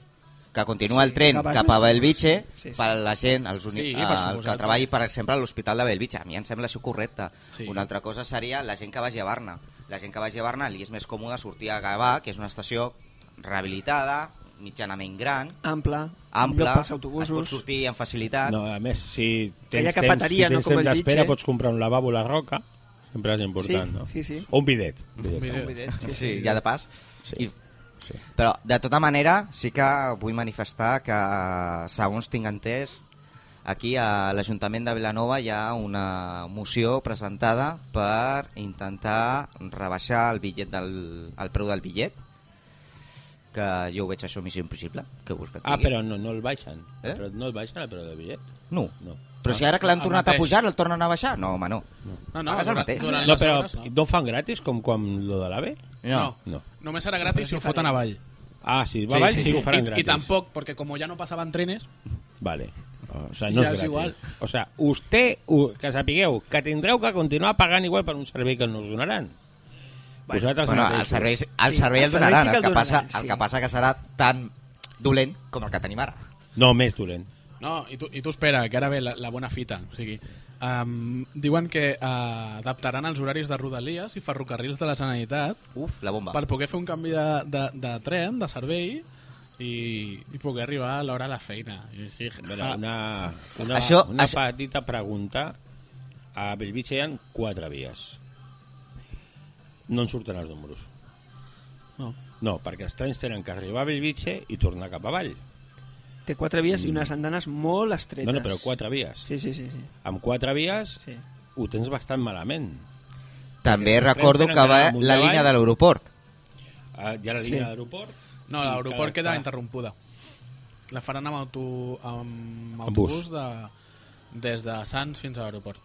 [SPEAKER 2] Que continua el tren
[SPEAKER 3] Gavà és
[SPEAKER 2] cap
[SPEAKER 3] més
[SPEAKER 2] a
[SPEAKER 3] còmode,
[SPEAKER 2] Belvitge
[SPEAKER 3] sí. Sí, sí.
[SPEAKER 2] per a la gent, els uni...
[SPEAKER 1] Sí, per
[SPEAKER 2] el que
[SPEAKER 1] suposat.
[SPEAKER 2] treballi, per exemple, a l'Hospital de Belvitge. A mi em sembla això correcte.
[SPEAKER 1] Sí.
[SPEAKER 2] Una altra cosa seria la gent que vagi a Barna. La gent que vagi a Barna li és més còmode sortir a Gavà, que és una estació rehabilitada, mitjanament gran,
[SPEAKER 3] Ample,
[SPEAKER 2] ample,
[SPEAKER 3] lloc pels
[SPEAKER 2] es pot
[SPEAKER 3] autobusos...
[SPEAKER 2] sortir amb facilitat.
[SPEAKER 4] No, a més, si
[SPEAKER 3] Que hi ha
[SPEAKER 4] tens temps, si
[SPEAKER 3] cafeteria, no
[SPEAKER 4] tens
[SPEAKER 3] com
[SPEAKER 4] temps
[SPEAKER 3] el
[SPEAKER 4] d'espera,
[SPEAKER 3] Vitge.
[SPEAKER 4] pots comprar un lavabo a la roca. Sempre és important,
[SPEAKER 3] Sí,
[SPEAKER 4] no?
[SPEAKER 3] sí, sí.
[SPEAKER 4] O un bidet. bidet.
[SPEAKER 1] Mira,
[SPEAKER 2] Sí, sí, ja de pas.
[SPEAKER 4] Sí.
[SPEAKER 2] I,
[SPEAKER 4] Sí.
[SPEAKER 2] però, de tota manera, sí que vull manifestar que, segons tinc entès, aquí a l'Ajuntament de Vilanova hi ha una moció presentada per intentar rebaixar el bitllet del, el preu del bitllet, que jo ho veig això missió impossible. Que vols que et
[SPEAKER 4] Ah,
[SPEAKER 2] digui?
[SPEAKER 4] però no, no el baixen.
[SPEAKER 2] Eh?
[SPEAKER 4] Però no el baixen, però de bitllet.
[SPEAKER 2] No.
[SPEAKER 4] No.
[SPEAKER 2] Però si ara que l'han
[SPEAKER 1] El
[SPEAKER 2] tornat a
[SPEAKER 1] mateix.
[SPEAKER 2] pujar, el tornen a baixar? No, home, no.
[SPEAKER 1] No, no,
[SPEAKER 2] Pagues el
[SPEAKER 1] durant,
[SPEAKER 2] mateix.
[SPEAKER 1] durant
[SPEAKER 4] No,
[SPEAKER 1] les
[SPEAKER 4] però
[SPEAKER 1] hores, no.
[SPEAKER 4] no fan gratis com quan lo de l'AVE?
[SPEAKER 1] No.
[SPEAKER 4] No.
[SPEAKER 1] Només serà gratis si ho foten avall.
[SPEAKER 4] Ah, sí, va, sí, sí, ho faran
[SPEAKER 1] I,
[SPEAKER 4] gratis.
[SPEAKER 1] I tampoc, perquè com ja no passaven trenes,
[SPEAKER 4] Vale. O sea, no
[SPEAKER 1] Ja és
[SPEAKER 4] és gratis.
[SPEAKER 1] igual.
[SPEAKER 4] O sea, usted, u- que sapigueu, que tindreu que continuar pagant igual per un servei que no us donaran. Bueno, Vosaltres
[SPEAKER 2] Bueno, el
[SPEAKER 4] mateixos.
[SPEAKER 2] servei, el
[SPEAKER 3] Sí,
[SPEAKER 2] servei
[SPEAKER 3] el
[SPEAKER 2] el
[SPEAKER 3] servei
[SPEAKER 2] donaran,
[SPEAKER 3] sí que
[SPEAKER 2] el
[SPEAKER 3] el
[SPEAKER 2] que, passa,
[SPEAKER 3] donaran,
[SPEAKER 2] el
[SPEAKER 3] sí.
[SPEAKER 2] que passa que serà tan dolent com el que tenim ara.
[SPEAKER 4] No, més dolent.
[SPEAKER 1] No, i tu, i tu espera, que ara ve la, la bona fita. O sigui, um, diuen que uh, adaptaran els horaris de Rodalies i ferrocarrils de la Generalitat
[SPEAKER 2] Uf, la bomba.
[SPEAKER 1] per poder fer un canvi de, de, de tren, de servei, i, i poder arribar a l'hora a la feina. I sí,
[SPEAKER 4] Mira,
[SPEAKER 3] Ah.
[SPEAKER 1] ja,
[SPEAKER 4] una, una,
[SPEAKER 2] Això-
[SPEAKER 4] una
[SPEAKER 2] això-
[SPEAKER 4] petita pregunta. A Bellvitge hi ha quatre vies. No en surten els números.
[SPEAKER 1] no.
[SPEAKER 4] No, perquè els trens tenen que arribar a Bellvitge i tornar cap avall.
[SPEAKER 3] Té quatre vies i
[SPEAKER 2] Mm.
[SPEAKER 3] unes andanes molt estretes.
[SPEAKER 4] No, no, però quatre vies.
[SPEAKER 3] Sí, sí, sí. sí.
[SPEAKER 4] Amb quatre vies
[SPEAKER 3] sí.
[SPEAKER 4] ho tens bastant malament.
[SPEAKER 2] També
[SPEAKER 4] Aquests
[SPEAKER 2] recordo
[SPEAKER 4] trens
[SPEAKER 2] que va
[SPEAKER 4] tenen que anar
[SPEAKER 2] la
[SPEAKER 4] amunt i
[SPEAKER 2] línia
[SPEAKER 4] avall.
[SPEAKER 2] de l'aeroport.
[SPEAKER 4] Ah, Hi ha la
[SPEAKER 3] Sí.
[SPEAKER 4] línia d'aeroport.
[SPEAKER 1] no
[SPEAKER 4] i
[SPEAKER 1] l'aeroport
[SPEAKER 4] cada-
[SPEAKER 1] queda interrompuda. La faran amb, auto, amb
[SPEAKER 4] Amb bus.
[SPEAKER 1] autobús de, des de Sants fins a l'aeroport.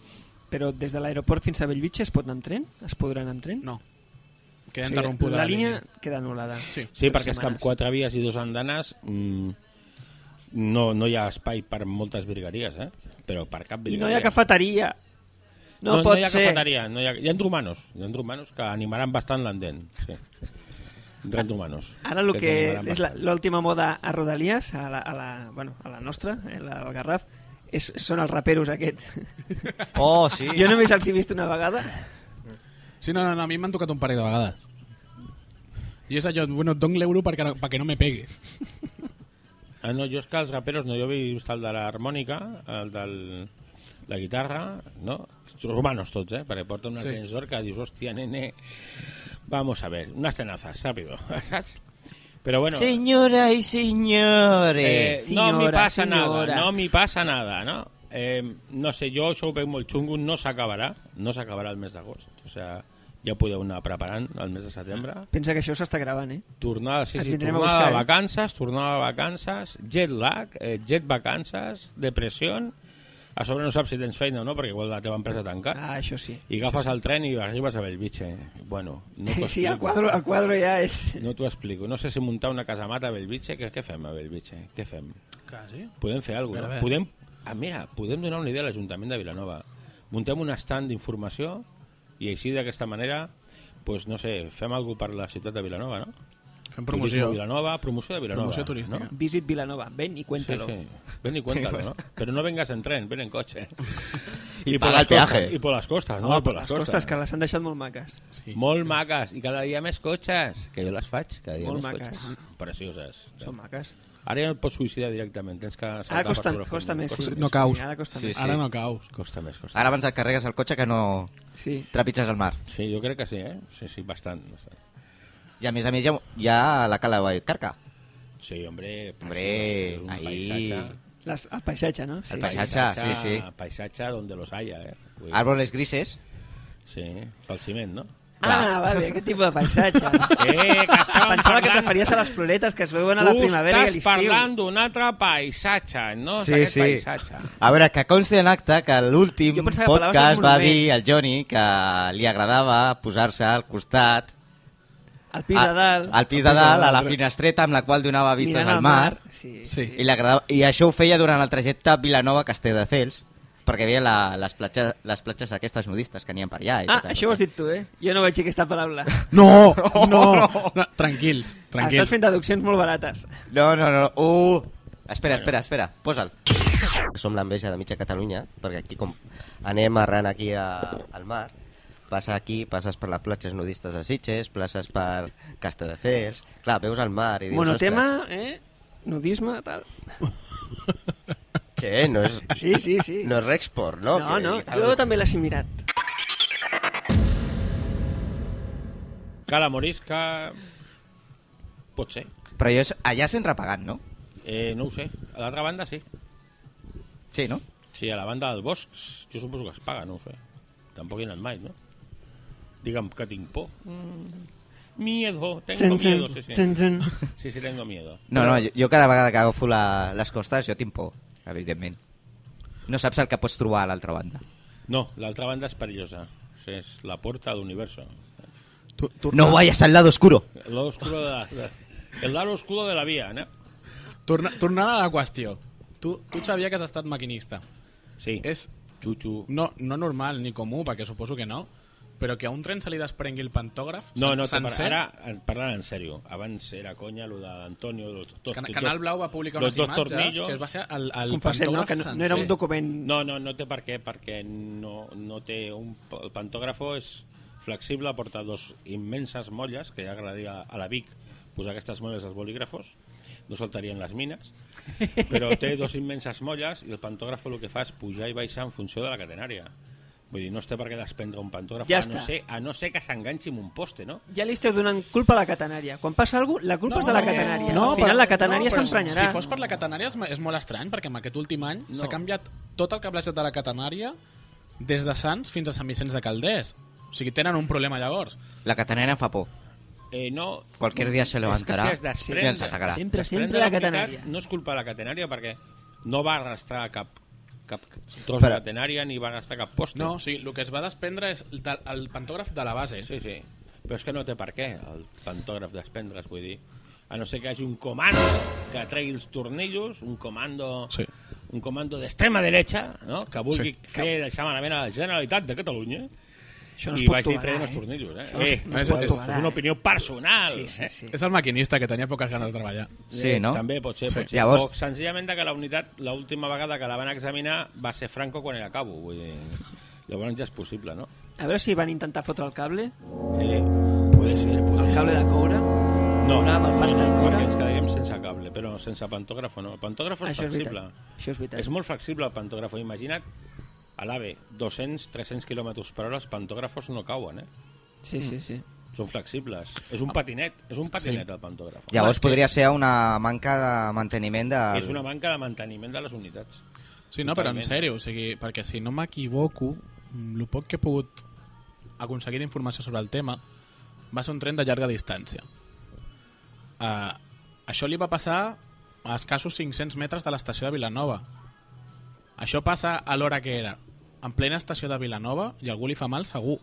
[SPEAKER 3] Però des de l'aeroport fins a Bellvitge es pot anar amb tren? Es podrà anar amb tren?
[SPEAKER 1] No, queda interrompuda
[SPEAKER 3] la, línia, queda anul·lada.
[SPEAKER 1] Sí.
[SPEAKER 4] Sí,
[SPEAKER 3] Tres
[SPEAKER 4] perquè és que amb
[SPEAKER 3] setmanes.
[SPEAKER 4] quatre vies i dos andanes mm, no, no hi ha espai per moltes virgueries, eh? Però per cap
[SPEAKER 3] I
[SPEAKER 4] virgueria.
[SPEAKER 3] no hi ha cafeteria. No,
[SPEAKER 4] no,
[SPEAKER 3] pot
[SPEAKER 4] no hi ha
[SPEAKER 3] ser.
[SPEAKER 4] cafeteria, no hi ha... Hi ha rumanos, hi ha rumanos que animaran bastant l'endent, sí. Rent rumanos.
[SPEAKER 3] Ara el que
[SPEAKER 4] s'animaran
[SPEAKER 3] és la-
[SPEAKER 4] bastant.
[SPEAKER 3] l'última moda a Rodalies, a la, a la, bueno, a la nostra, eh, la del Garraf, és, són els raperos aquests.
[SPEAKER 2] Oh, sí.
[SPEAKER 3] Jo només els he vist una vegada.
[SPEAKER 1] Sí, no, no, no a mi m'han tocat un parell de vegades. I és allò, bueno, et dono l'euro perquè, perquè no me peguis.
[SPEAKER 4] Ah, no, jo és que els raperos no, jo he vist el de l'harmònica, el del la guitarra, no? Rumanos tots, eh? Perquè porten un
[SPEAKER 1] Sí.
[SPEAKER 4] sí. d'or que dius, hòstia, nene, vamos a ver, unas tenazas, rápido, saps? Però bueno,
[SPEAKER 2] Senyora i
[SPEAKER 4] Eh,
[SPEAKER 2] senyores.
[SPEAKER 4] no me
[SPEAKER 3] Eh, Senyora,
[SPEAKER 4] pasa
[SPEAKER 3] senyora.
[SPEAKER 4] nada, no me pasa nada, ¿no? Eh, no sé, yo això ho veig molt xungo, no s'acabarà, no s'acabarà el mes d'agost, o sea, ja podeu anar preparant el mes de setembre.
[SPEAKER 3] Pensa que això s'està gravant, eh?
[SPEAKER 4] Tornada, sí,
[SPEAKER 3] Et
[SPEAKER 4] sí,
[SPEAKER 3] vindrem a
[SPEAKER 4] tornada
[SPEAKER 3] buscar,
[SPEAKER 4] de
[SPEAKER 3] eh?
[SPEAKER 4] vacances, tornada de vacances, jet lag, eh, jet vacances, depressió, a sobre no saps si tens feina o no, perquè igual la teva empresa tanca,
[SPEAKER 3] Ah, això sí.
[SPEAKER 4] i agafes el tren i arribes a Belvitge. Bueno, no t'ho
[SPEAKER 3] Sí, el
[SPEAKER 4] explico.
[SPEAKER 3] quadro, el quadro ja és...
[SPEAKER 4] No t'ho explico. No sé si muntar una casamata a Belvitge. Què, què fem a Belvitge? Què fem?
[SPEAKER 1] Quasi.
[SPEAKER 4] Podem fer alguna
[SPEAKER 1] Però
[SPEAKER 4] cosa.
[SPEAKER 1] bé.
[SPEAKER 4] No? Podem, ah, mira, podem donar una idea a l'Ajuntament de Vilanova. Muntem un stand d'informació i així d'aquesta manera, pues, no sé, fem alguna per la ciutat de Vilanova, no?
[SPEAKER 1] Fem
[SPEAKER 4] Turisme
[SPEAKER 1] promoció.
[SPEAKER 4] a Vilanova, promoció de Vilanova.
[SPEAKER 1] Promoció turística.
[SPEAKER 4] No?
[SPEAKER 3] Visit Vilanova, ven i
[SPEAKER 4] Sí,
[SPEAKER 3] cuéntalo.
[SPEAKER 4] sí. Ven y cuéntalo, ¿no? Pero no vengas en tren, ven en coche.
[SPEAKER 2] I
[SPEAKER 4] por
[SPEAKER 2] paga
[SPEAKER 4] las
[SPEAKER 2] el peaje.
[SPEAKER 4] costas, Y por las costas, ¿no? eh?
[SPEAKER 3] Home,
[SPEAKER 4] I por
[SPEAKER 3] les costes, que les han deixat molt maques.
[SPEAKER 1] Sí.
[SPEAKER 4] Molt maques. I cada dia més cotxes. Que jo les faig. Cada dia
[SPEAKER 3] Molt
[SPEAKER 4] més
[SPEAKER 3] maques.
[SPEAKER 4] cotxes. Precioses.
[SPEAKER 3] Són maques.
[SPEAKER 4] Ara ja no et pots suïcidar directament, tens que... saltar
[SPEAKER 3] Ara
[SPEAKER 4] per
[SPEAKER 3] Ah, costa,
[SPEAKER 4] sobre el
[SPEAKER 3] costa
[SPEAKER 4] fondo.
[SPEAKER 3] més.
[SPEAKER 4] Costa,
[SPEAKER 3] sí.
[SPEAKER 1] No caus.
[SPEAKER 3] Sí, Ara costa
[SPEAKER 2] Sí,
[SPEAKER 3] més.
[SPEAKER 2] sí.
[SPEAKER 1] Ara no caus.
[SPEAKER 4] costa més, costa
[SPEAKER 2] Ara abans et carregues el cotxe que no
[SPEAKER 3] Sí.
[SPEAKER 2] trepitges el mar.
[SPEAKER 4] Sí, jo crec que sí, eh? Sí, sí, bastant. bastant.
[SPEAKER 2] I a més a més hi ha, hi ha la cala de Carca.
[SPEAKER 4] Sí, hombre,
[SPEAKER 2] Hombre,
[SPEAKER 4] preciós, un
[SPEAKER 2] ahí.
[SPEAKER 4] paisatge...
[SPEAKER 3] Les, el paisatge, no? Sí,
[SPEAKER 2] El
[SPEAKER 3] sí.
[SPEAKER 2] paisatge, sí, sí.
[SPEAKER 4] Paisatge donde los haya, eh? Vull dir,
[SPEAKER 2] Árboles grises.
[SPEAKER 4] Sí, pel ciment, no?
[SPEAKER 3] Ah, vale, aquest tipus de paisatge.
[SPEAKER 4] Eh, que estàvem
[SPEAKER 3] Pensava que
[SPEAKER 4] parlant.
[SPEAKER 3] te faries a les floretes que es veuen a la primavera i a
[SPEAKER 4] Tu estàs
[SPEAKER 3] l'estiu.
[SPEAKER 4] parlant d'un altre paisatge, no? És aquest paisatge.
[SPEAKER 2] A veure, que consti en acte que l'últim
[SPEAKER 3] Jo pensava que parlaves
[SPEAKER 2] podcast
[SPEAKER 3] dels
[SPEAKER 2] va
[SPEAKER 3] monuments.
[SPEAKER 2] dir al Johnny que li agradava posar-se al costat
[SPEAKER 3] Al pis de dalt.
[SPEAKER 2] Ah, al pis de dalt, a la finestreta amb la qual donava vistes
[SPEAKER 3] mirant
[SPEAKER 2] al mar.
[SPEAKER 1] Sí.
[SPEAKER 3] Sí, sí.
[SPEAKER 2] I, li agradava- I això ho feia durant el trajecte a Vilanova Castelldefels, perquè veia la, les, platges, les platges aquestes nudistes que n'hi ha per allà. I
[SPEAKER 3] Ah,
[SPEAKER 2] tot
[SPEAKER 3] això ho has dit tu, eh? Jo no vaig dir aquesta paraula.
[SPEAKER 1] No! No! no. Tranquils,
[SPEAKER 3] Estàs
[SPEAKER 1] tranquils.
[SPEAKER 3] fent deduccions molt barates.
[SPEAKER 2] No, no, no. Uh! Espera, espera, espera. Posa'l. Som l'enveja de mitja Catalunya, perquè aquí com anem arran aquí a, al mar, passa aquí, passes per les platges nudistes de Sitges, places per Castelldefels... Clar, veus el mar i dius...
[SPEAKER 3] Monotema, eh? nudisme, tal.
[SPEAKER 6] Què? No és,
[SPEAKER 3] Sí, sí, sí.
[SPEAKER 6] no és Rexport, no?
[SPEAKER 3] no,
[SPEAKER 6] Que-
[SPEAKER 3] no,
[SPEAKER 6] que-
[SPEAKER 3] jo també l'he mirat.
[SPEAKER 4] Cala morisca... Pot ser.
[SPEAKER 2] Però jo, allà s'entra pagant, no?
[SPEAKER 4] Eh, no ho sé. A l'altra banda sí.
[SPEAKER 2] Sí, no?
[SPEAKER 4] Sí, a la banda del bosc, jo suposo que es paga, no ho sé. Tampoc hi he anat mai, no? Digue'm que tinc por. Mm. Miedo, tengo miedo, sí, sí. Sí, sí, tengo miedo.
[SPEAKER 2] No, no, jo, jo cada vegada que agafo la, les costes jo tinc por, evidentment. No saps el que pots trobar a l'altra banda.
[SPEAKER 4] No, l'altra banda és perillosa. O sigui, és la porta de l'universo.
[SPEAKER 1] Tu, tu,
[SPEAKER 2] No vayas al lado oscuro.
[SPEAKER 4] El lado oscuro de la... de- El lado oscuro de la vía, ¿no?
[SPEAKER 1] Torna, tornada a la qüestió. Tu, tu, Xavier, que has estat maquinista.
[SPEAKER 4] Sí.
[SPEAKER 1] És
[SPEAKER 4] Chuchu.
[SPEAKER 1] no, no normal ni comú, perquè suposo que no, però que a un tren se li desprengui el pantògraf
[SPEAKER 4] No,
[SPEAKER 1] sen-
[SPEAKER 4] no, te
[SPEAKER 1] sencer,
[SPEAKER 4] par- ara en- parlant en sèrio. Abans era conya lo d'Antonio, los dos...
[SPEAKER 1] Can
[SPEAKER 4] los
[SPEAKER 1] Canal
[SPEAKER 4] dos-
[SPEAKER 1] Blau va publicar
[SPEAKER 4] los
[SPEAKER 1] unes
[SPEAKER 4] dos
[SPEAKER 1] imatges
[SPEAKER 4] tornillos.
[SPEAKER 1] que va ser el, el
[SPEAKER 3] Confessem, no?
[SPEAKER 1] pantògraf
[SPEAKER 3] Que no, no era un
[SPEAKER 1] sencer.
[SPEAKER 3] document...
[SPEAKER 4] No, no, no té per què, perquè no, no té un... El pantògrafo és flexible, porta dos immenses molles, que ja agradaria a la Vic posar aquestes molles als bolígrafos, no saltarien les mines, però té dos immenses molles i el pantògraf el que fa és pujar i baixar en funció de la catenària. Vull dir, no es té per què desprendre un pantògraf,
[SPEAKER 3] Ja
[SPEAKER 4] a, no
[SPEAKER 3] està.
[SPEAKER 4] ser, a no ser que s'enganxi amb un poste, no?
[SPEAKER 3] Ja li esteu donant culpa a la catenària. Quan passa alguna cosa, la culpa és de la
[SPEAKER 1] perquè-
[SPEAKER 3] catenària. Al final
[SPEAKER 1] però-
[SPEAKER 3] la catenària
[SPEAKER 1] no, però
[SPEAKER 3] s'emprenyarà.
[SPEAKER 1] Si fos per la catenària és, ma- és molt estrany, perquè en aquest últim any
[SPEAKER 4] No.
[SPEAKER 1] s'ha canviat tot el cablejat de la catenària des de Sants fins a Sant Vicenç de Calders. O sigui, tenen un problema llavors.
[SPEAKER 2] La catenera em fa por.
[SPEAKER 4] Eh, no,
[SPEAKER 2] Cualquier dia se levantarà
[SPEAKER 4] és que si has
[SPEAKER 2] i ens
[SPEAKER 4] desprendre,
[SPEAKER 2] sacarà.
[SPEAKER 3] Sempre,
[SPEAKER 4] desprendre
[SPEAKER 3] sempre la
[SPEAKER 4] unitat
[SPEAKER 3] catenària.
[SPEAKER 4] No és culpa de la catenària perquè no va arrastrar cap, cap tros de
[SPEAKER 2] Però-
[SPEAKER 4] catenària ni va arrastrar cap poste.
[SPEAKER 1] No, o sigui, el que es va desprendre és el, de- el pantògraf de la base.
[SPEAKER 4] Sí, sí. Però és que no té per què el pantògraf desprendre's, vull dir. A no ser que hi hagi un comando que tregui els tornillos, un comando,
[SPEAKER 1] Sí.
[SPEAKER 4] un comando d'extrema derecha, no? que vulgui
[SPEAKER 1] Sí.
[SPEAKER 4] sí. fer deixar malament a la Generalitat de Catalunya
[SPEAKER 3] Això no es
[SPEAKER 4] i
[SPEAKER 3] pot
[SPEAKER 4] vagi
[SPEAKER 3] tolerar,
[SPEAKER 4] traient
[SPEAKER 3] eh?
[SPEAKER 4] els tornillos. Eh?
[SPEAKER 3] no es-
[SPEAKER 4] Eh,
[SPEAKER 1] no es
[SPEAKER 4] és,
[SPEAKER 1] pot
[SPEAKER 4] és,
[SPEAKER 3] tolerar,
[SPEAKER 4] és una
[SPEAKER 3] eh?
[SPEAKER 4] opinió personal.
[SPEAKER 3] Sí, sí,
[SPEAKER 4] eh?
[SPEAKER 3] sí.
[SPEAKER 1] És el maquinista, que tenia poques ganes de treballar.
[SPEAKER 2] Sí, no?
[SPEAKER 4] També pot ser, pot ser.
[SPEAKER 2] Llavors-
[SPEAKER 4] O senzillament que la unitat, l'última vegada que la van examinar va ser Franco quan era cabo. Vull dir, llavors ja és possible, no?
[SPEAKER 3] A veure si van intentar fotre el cable,
[SPEAKER 4] Eh, puede ser, puede
[SPEAKER 3] el
[SPEAKER 4] ser.
[SPEAKER 3] cable de coure.
[SPEAKER 4] No,
[SPEAKER 3] Programa,
[SPEAKER 4] no,
[SPEAKER 3] pasta
[SPEAKER 4] no,
[SPEAKER 3] al cor.
[SPEAKER 4] perquè ens quedaríem sense cable, però sense pantògrafo no. El pantògrafo és
[SPEAKER 3] Això és
[SPEAKER 4] flexible.
[SPEAKER 3] veritat. Això és veritat.
[SPEAKER 4] És molt flexible el pantògrafo. Imagina't, a l'AVE, 200-300 km per hora, els pantògrafos no cauen, eh?
[SPEAKER 3] Sí, sí, sí.
[SPEAKER 4] Són flexibles. És un patinet, és un patinet el pantògraf.
[SPEAKER 2] Llavors podria ser una manca de manteniment de...
[SPEAKER 4] És una manca de manteniment de les unitats.
[SPEAKER 1] Sí, no, però en
[SPEAKER 4] Totalment.
[SPEAKER 1] sèrio, o sigui, perquè si no m'equivoco, el poc que he pogut aconseguir d'informació sobre el tema va ser un tren de llarga distància. Uh, això li va passar a escassos 500 metres de l'estació de Vilanova. Això passa a l'hora que era, en plena estació de Vilanova, i algú li fa mal segur.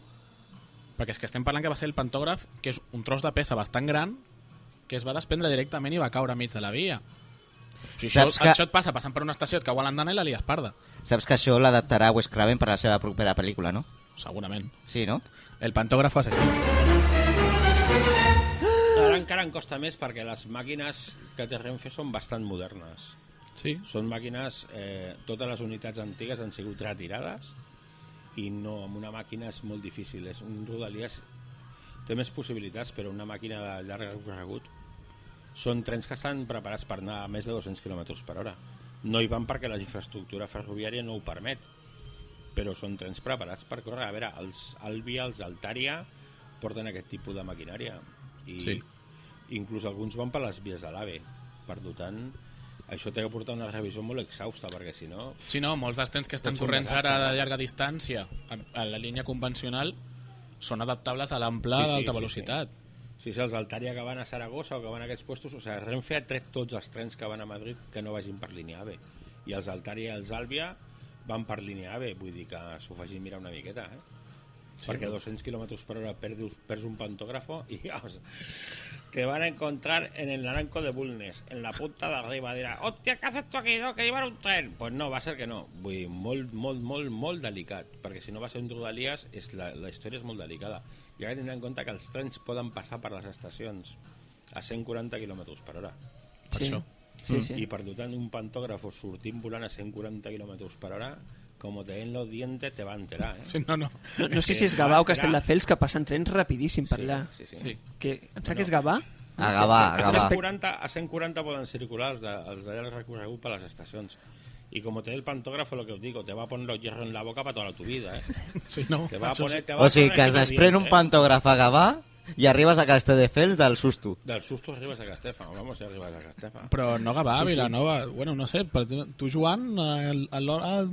[SPEAKER 1] Perquè és que estem parlant que va ser el pantògraf, que és un tros de peça bastant gran, que es va desprendre directament i va caure enmig de la via. O sigui, això,
[SPEAKER 2] Saps que-
[SPEAKER 1] això et passa passant per una estació, et cau a l'andana i la lies parda.
[SPEAKER 2] Saps que això l'adaptarà Wes Craven per a la seva propera pel·lícula, no?
[SPEAKER 1] Segurament.
[SPEAKER 2] Sí, no?
[SPEAKER 1] El pantògrafo assassí.
[SPEAKER 3] Ah.
[SPEAKER 4] Ara encara en costa més perquè les màquines que té Renfe són bastant modernes.
[SPEAKER 1] Sí.
[SPEAKER 4] Són màquines, eh, totes les unitats antigues han sigut retirades i no, amb una màquina és molt difícil. És un Rodalies té més possibilitats, però una màquina de llarg recorregut són trens que estan preparats per anar a més de 200 km per hora. No hi van perquè la infraestructura ferroviària no ho permet, però són trens preparats per córrer. A veure, els Albia, els Altaria porten aquest tipus de maquinària i
[SPEAKER 1] Sí.
[SPEAKER 4] inclús alguns van per les vies de l'AVE. Per tant, això té que portar una revisió molt exhausta, perquè si no...
[SPEAKER 1] Sí, no, molts dels trens que estan
[SPEAKER 4] Pot ser un
[SPEAKER 1] corrents
[SPEAKER 4] desastre,
[SPEAKER 1] ara de
[SPEAKER 4] no?
[SPEAKER 1] llarga distància a, a la línia convencional són adaptables a l'ample
[SPEAKER 4] Sí, sí,
[SPEAKER 1] d'alta
[SPEAKER 4] sí,
[SPEAKER 1] velocitat.
[SPEAKER 4] Si és els Altaria que van a Saragossa o que van a aquests puestos, o sigui, Renfe ha tret tots els trens que van a Madrid que no vagin per línia AVE. I els Altaria i els Àlvia van per línia AVE, vull dir que s'ho facin mirar una miqueta, eh? Sí, Perquè a 200 km per hora perds, perds un pantògrafo i o sea, te van a encontrar en el naranco de Bulnes, en la punta de arriba. Dirà, hòstia, què haces tu aquí, no? que llevar un tren? Pues no, va ser que no. Vull dir, molt, molt, molt, molt delicat, perquè si no va ser un rodalies, és la, la història és molt delicada. I ara tindrà en compte que els trens poden passar per les estacions a 140 km per hora.
[SPEAKER 1] Per
[SPEAKER 3] Sí.
[SPEAKER 1] això.
[SPEAKER 3] Sí, sí.
[SPEAKER 4] Y per tant, un pantògrafo sortint volant a 140 km per hora, com te den los dientes, te va a enterar, eh?
[SPEAKER 1] Sí, no, no.
[SPEAKER 3] No, no sé si és Gavà o Castelldefels que passen trens rapidíssim per allà.
[SPEAKER 4] Sí, sí.
[SPEAKER 1] Sí.
[SPEAKER 4] sí.
[SPEAKER 3] Que, em sembla que és Ah, Gavà
[SPEAKER 2] A Gavà, a
[SPEAKER 4] A
[SPEAKER 2] Gavà.
[SPEAKER 4] 140, a 140 poden circular els de- els d'allà els recorregut per les estacions. I com té el pantògrafo, el que us digo, te va a poner los hierros en la boca para toda tu vida, eh?
[SPEAKER 1] Sí, no,
[SPEAKER 4] Te va a
[SPEAKER 1] això
[SPEAKER 4] poner... Te va
[SPEAKER 2] O
[SPEAKER 4] a
[SPEAKER 2] sigui
[SPEAKER 4] poner
[SPEAKER 2] que es
[SPEAKER 4] aquí
[SPEAKER 2] desprèn un
[SPEAKER 4] eh?
[SPEAKER 2] pantògraf a Gavà i arribes a Castelldefels del susto.
[SPEAKER 4] eh? Del susto arribes a Castefa, vamos, si arribes a Castefa.
[SPEAKER 1] sí. Però no Gavà, Vilanova... Bueno, no sé, per exemple, tu, Joan, el, el, el,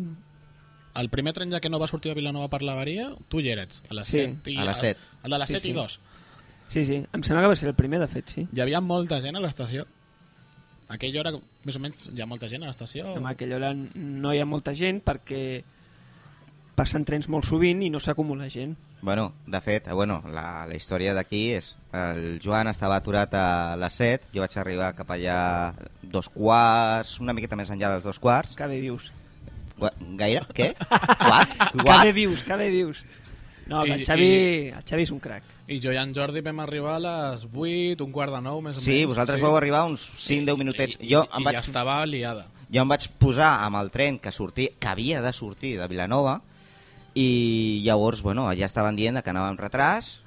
[SPEAKER 1] el primer tren ja que no va sortir a Vilanova per l'avaria, tu hi eres, a les
[SPEAKER 3] Sí.
[SPEAKER 1] 7 i...
[SPEAKER 2] A les set.
[SPEAKER 1] El, el de les
[SPEAKER 3] Sí,
[SPEAKER 1] 7
[SPEAKER 3] sí.
[SPEAKER 1] i 2.
[SPEAKER 3] Sí, sí. Em sembla que va ser el primer, de fet, sí.
[SPEAKER 1] Hi havia molta gent a l'estació. A Aquella hora, més o menys, hi ha molta gent a l'estació.
[SPEAKER 3] En aquella hora no hi ha molta gent perquè passen trens molt sovint i no s'acumula gent.
[SPEAKER 2] Bueno, de fet, eh, bueno, la, la història d'aquí és... El Joan estava aturat a les 7, jo vaig arribar cap allà dos quarts, una miqueta més enllà dels dos quarts.
[SPEAKER 3] Cada vius.
[SPEAKER 2] Gua- Gaire? Què? What?
[SPEAKER 3] Cada
[SPEAKER 2] What?
[SPEAKER 3] vius, cada vius. No,
[SPEAKER 1] I-
[SPEAKER 3] el Xavi, el Xavi és un crac.
[SPEAKER 1] I jo i en Jordi vam arribar a les 8, un quart de 9, més o menys.
[SPEAKER 2] Sí, vosaltres vau arribar uns 5-10 minutets.
[SPEAKER 1] I,
[SPEAKER 2] Jo
[SPEAKER 1] i,
[SPEAKER 2] em
[SPEAKER 1] i
[SPEAKER 2] vaig
[SPEAKER 1] ja estava liada.
[SPEAKER 2] jo em vaig posar amb el tren que sortia, que havia de sortir de Vilanova i llavors, bueno, ja estaven dient de que anava amb retras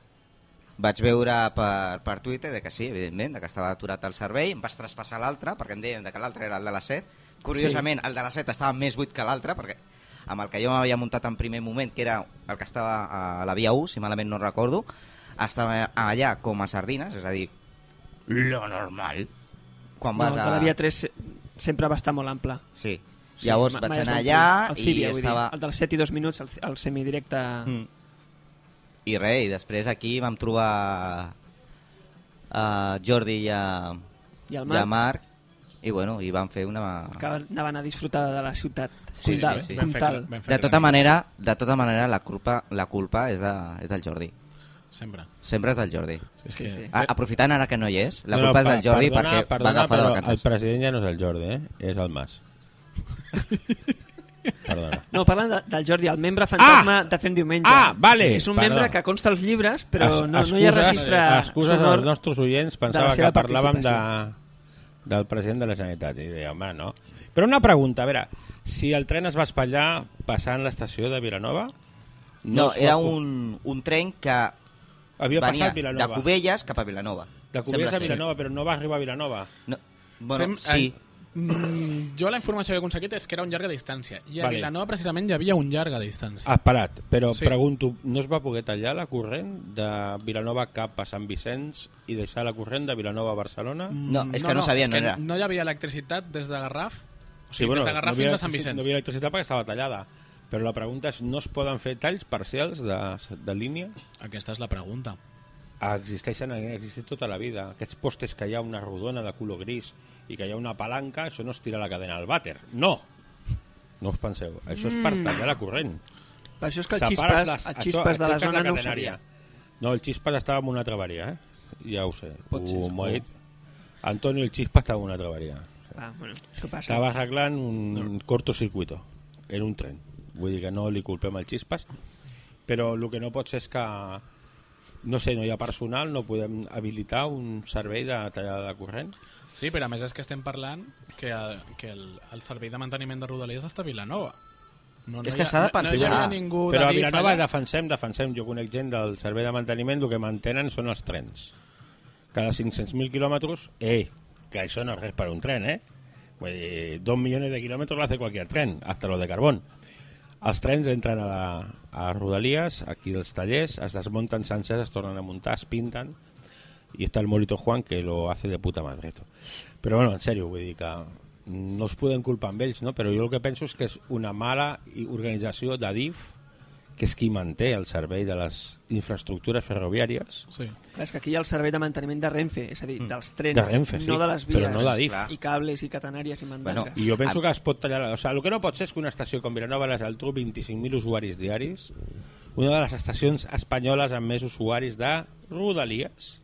[SPEAKER 2] vaig veure per, per Twitter de que sí, evidentment, de que estava aturat el servei em vas traspassar l'altre perquè em deien de que l'altre era el de les 7 curiosament el de les 7 estava més buit que l'altre perquè amb el que jo m'havia muntat en primer moment que era el que estava a la via 1 si malament no recordo estava allà com a sardines és a dir, lo normal quan
[SPEAKER 3] No,
[SPEAKER 2] vas
[SPEAKER 3] de
[SPEAKER 2] a...
[SPEAKER 3] la via 3 sempre va estar molt ample.
[SPEAKER 2] Sí.
[SPEAKER 3] Sí,
[SPEAKER 2] Llavors
[SPEAKER 3] ma-
[SPEAKER 2] vaig
[SPEAKER 3] mai es va
[SPEAKER 2] anar
[SPEAKER 3] omplir.
[SPEAKER 2] allà
[SPEAKER 3] El
[SPEAKER 2] i
[SPEAKER 3] Cibia, vull dir,
[SPEAKER 2] estava...
[SPEAKER 3] El de les 7 i 2 minuts, el, el semidirecte... Mm.
[SPEAKER 2] Mm. I res, i després aquí vam trobar a Jordi i a,
[SPEAKER 3] I el Marc.
[SPEAKER 2] i a Marc i bueno, i vam fer una...
[SPEAKER 3] que anaven a disfrutar de la ciutat.
[SPEAKER 2] Sí,
[SPEAKER 3] Comtal,
[SPEAKER 2] sí, sí.
[SPEAKER 1] Vam fer-
[SPEAKER 3] Comtal.
[SPEAKER 1] vam fer
[SPEAKER 2] De tota
[SPEAKER 1] gran.
[SPEAKER 2] manera, de tota manera la culpa, la culpa és, de, és del Jordi.
[SPEAKER 1] Sempre.
[SPEAKER 2] Sempre és del Jordi.
[SPEAKER 1] És
[SPEAKER 3] Sí,
[SPEAKER 1] que-
[SPEAKER 3] sí.
[SPEAKER 2] A, aprofitant ara que no hi és, la
[SPEAKER 4] No, no,
[SPEAKER 2] culpa
[SPEAKER 4] per-
[SPEAKER 2] és del Jordi
[SPEAKER 4] perdona,
[SPEAKER 2] perquè
[SPEAKER 4] perdona,
[SPEAKER 2] va agafar de
[SPEAKER 4] però
[SPEAKER 2] vacances.
[SPEAKER 4] El president ja no és el Jordi, eh? és el Mas. perdona.
[SPEAKER 3] No, parlen de, del Jordi, el membre fantasma ah! de Fem Diumenge.
[SPEAKER 4] Ah, vale,
[SPEAKER 3] És un
[SPEAKER 4] perdó.
[SPEAKER 3] membre que consta als llibres, però
[SPEAKER 4] Es-
[SPEAKER 3] no, no hi ha
[SPEAKER 4] excuses- eh,
[SPEAKER 3] registre
[SPEAKER 4] Excuses
[SPEAKER 3] sonor.
[SPEAKER 4] als nostres oients,
[SPEAKER 3] de
[SPEAKER 4] pensava
[SPEAKER 3] la
[SPEAKER 4] que
[SPEAKER 3] seva
[SPEAKER 4] parlàvem de,
[SPEAKER 3] participació.
[SPEAKER 4] del president de la Generalitat. I deia, home, no. Però una pregunta, a veure, si el tren es va espatllar passant l'estació de Vilanova...
[SPEAKER 2] No,
[SPEAKER 4] es va
[SPEAKER 2] era
[SPEAKER 4] cu-
[SPEAKER 2] un, un tren que
[SPEAKER 4] Havia
[SPEAKER 2] venia
[SPEAKER 4] passat
[SPEAKER 2] de
[SPEAKER 4] Vilanova.
[SPEAKER 2] Cubelles cap a Vilanova.
[SPEAKER 4] De
[SPEAKER 2] Sembla
[SPEAKER 4] Cubelles a
[SPEAKER 2] ser.
[SPEAKER 4] Vilanova, eh, però no va arribar a Vilanova.
[SPEAKER 2] No, bueno,
[SPEAKER 1] Sem-
[SPEAKER 2] sí.
[SPEAKER 1] Mm, jo la informació que he aconseguit és que era un llarga distància. I a
[SPEAKER 4] Vale.
[SPEAKER 1] Vilanova, precisament, hi havia un llarga distància.
[SPEAKER 4] Ah, parat, però
[SPEAKER 1] Sí.
[SPEAKER 4] sí. pregunto, no es va poder tallar la corrent de Vilanova cap a Sant Vicenç i deixar la corrent de Vilanova a Barcelona? Mm.
[SPEAKER 2] No, és que no sabia,
[SPEAKER 1] és
[SPEAKER 2] no
[SPEAKER 1] que
[SPEAKER 2] era.
[SPEAKER 1] No hi havia electricitat des de Garraf, o sigui, des de Garraf fins a Sant Vicenç.
[SPEAKER 4] No hi havia electricitat perquè estava tallada. Però la pregunta és, no es poden fer talls parcials de, de línia?
[SPEAKER 1] Aquesta és la pregunta.
[SPEAKER 4] Existeixen, han existit tota la vida. Aquests postes que hi ha una rodona de color gris i que hi ha una palanca, això no es tira la cadena al vàter. No! No us penseu. Això és per tallar la corrent.
[SPEAKER 3] Per això Mm. és que el
[SPEAKER 4] Separes
[SPEAKER 3] xispes,
[SPEAKER 4] les-
[SPEAKER 3] el
[SPEAKER 4] això-
[SPEAKER 3] xispes de la
[SPEAKER 4] aixeques
[SPEAKER 3] zona no ho
[SPEAKER 4] catenària.
[SPEAKER 3] sabia.
[SPEAKER 4] No, el Chispas estava en una altra avaria, eh? Ja ho sé.
[SPEAKER 3] Pot ser,
[SPEAKER 4] Ho
[SPEAKER 3] sí.
[SPEAKER 4] m'ho ha dit. Antonio, el Chispas estava en una altra avaria.
[SPEAKER 3] Ah, bueno, això passa.
[SPEAKER 4] Estava arreglant un cortocircuito en un tren. Vull dir que no li culpem al Chispas, però el que no pot ser és que no sé, no hi ha personal, no podem habilitar un servei de tallada de corrent.
[SPEAKER 1] Sí, però a més és que estem parlant que, el- que el, el servei de manteniment de Rodalies està a Vilanova. No,
[SPEAKER 2] És
[SPEAKER 1] hi
[SPEAKER 2] que
[SPEAKER 1] ha-
[SPEAKER 2] s'ha
[SPEAKER 1] No,
[SPEAKER 2] de
[SPEAKER 1] hi
[SPEAKER 2] pensar.
[SPEAKER 1] havia ningú
[SPEAKER 4] Però a
[SPEAKER 1] de DIF
[SPEAKER 4] Vilanova
[SPEAKER 1] allà.
[SPEAKER 4] defensem, defensem. Jo conec gent del servei de manteniment, el que mantenen són els trens. Cada 500.000 quilòmetres, eh, que això no és res per un tren, eh? Vull dir, dos milions de quilòmetres l'hace qualsevol tren, hasta lo de carbón. Els trens entren a, la, a Rodalies, aquí els tallers, es desmunten sencers, es tornen a muntar, es pinten, y está el Molito Juan que lo hace de puta madre esto. Però bueno, en sèrio, vull dir que no us podem culpar amb ells, no? però jo el que penso és que és una mala i- organització de DIF que és qui manté el servei de les infraestructures ferroviàries.
[SPEAKER 1] Sí.
[SPEAKER 3] Clar, és que aquí hi ha el servei de manteniment de Renfe, és a
[SPEAKER 2] Mm.
[SPEAKER 3] dir, dels trens,
[SPEAKER 4] De Renfe, sí,
[SPEAKER 3] no de les
[SPEAKER 4] però
[SPEAKER 3] vies,
[SPEAKER 4] no de DIF.
[SPEAKER 3] i cables, i catenàries, i mandangues.
[SPEAKER 2] Bueno,
[SPEAKER 4] I jo penso que es pot tallar... O sigui, el que no pot ser és que una estació com Vilanova i la Geltrú, 25.000 usuaris diaris, una de les estacions espanyoles amb més usuaris de Rodalies,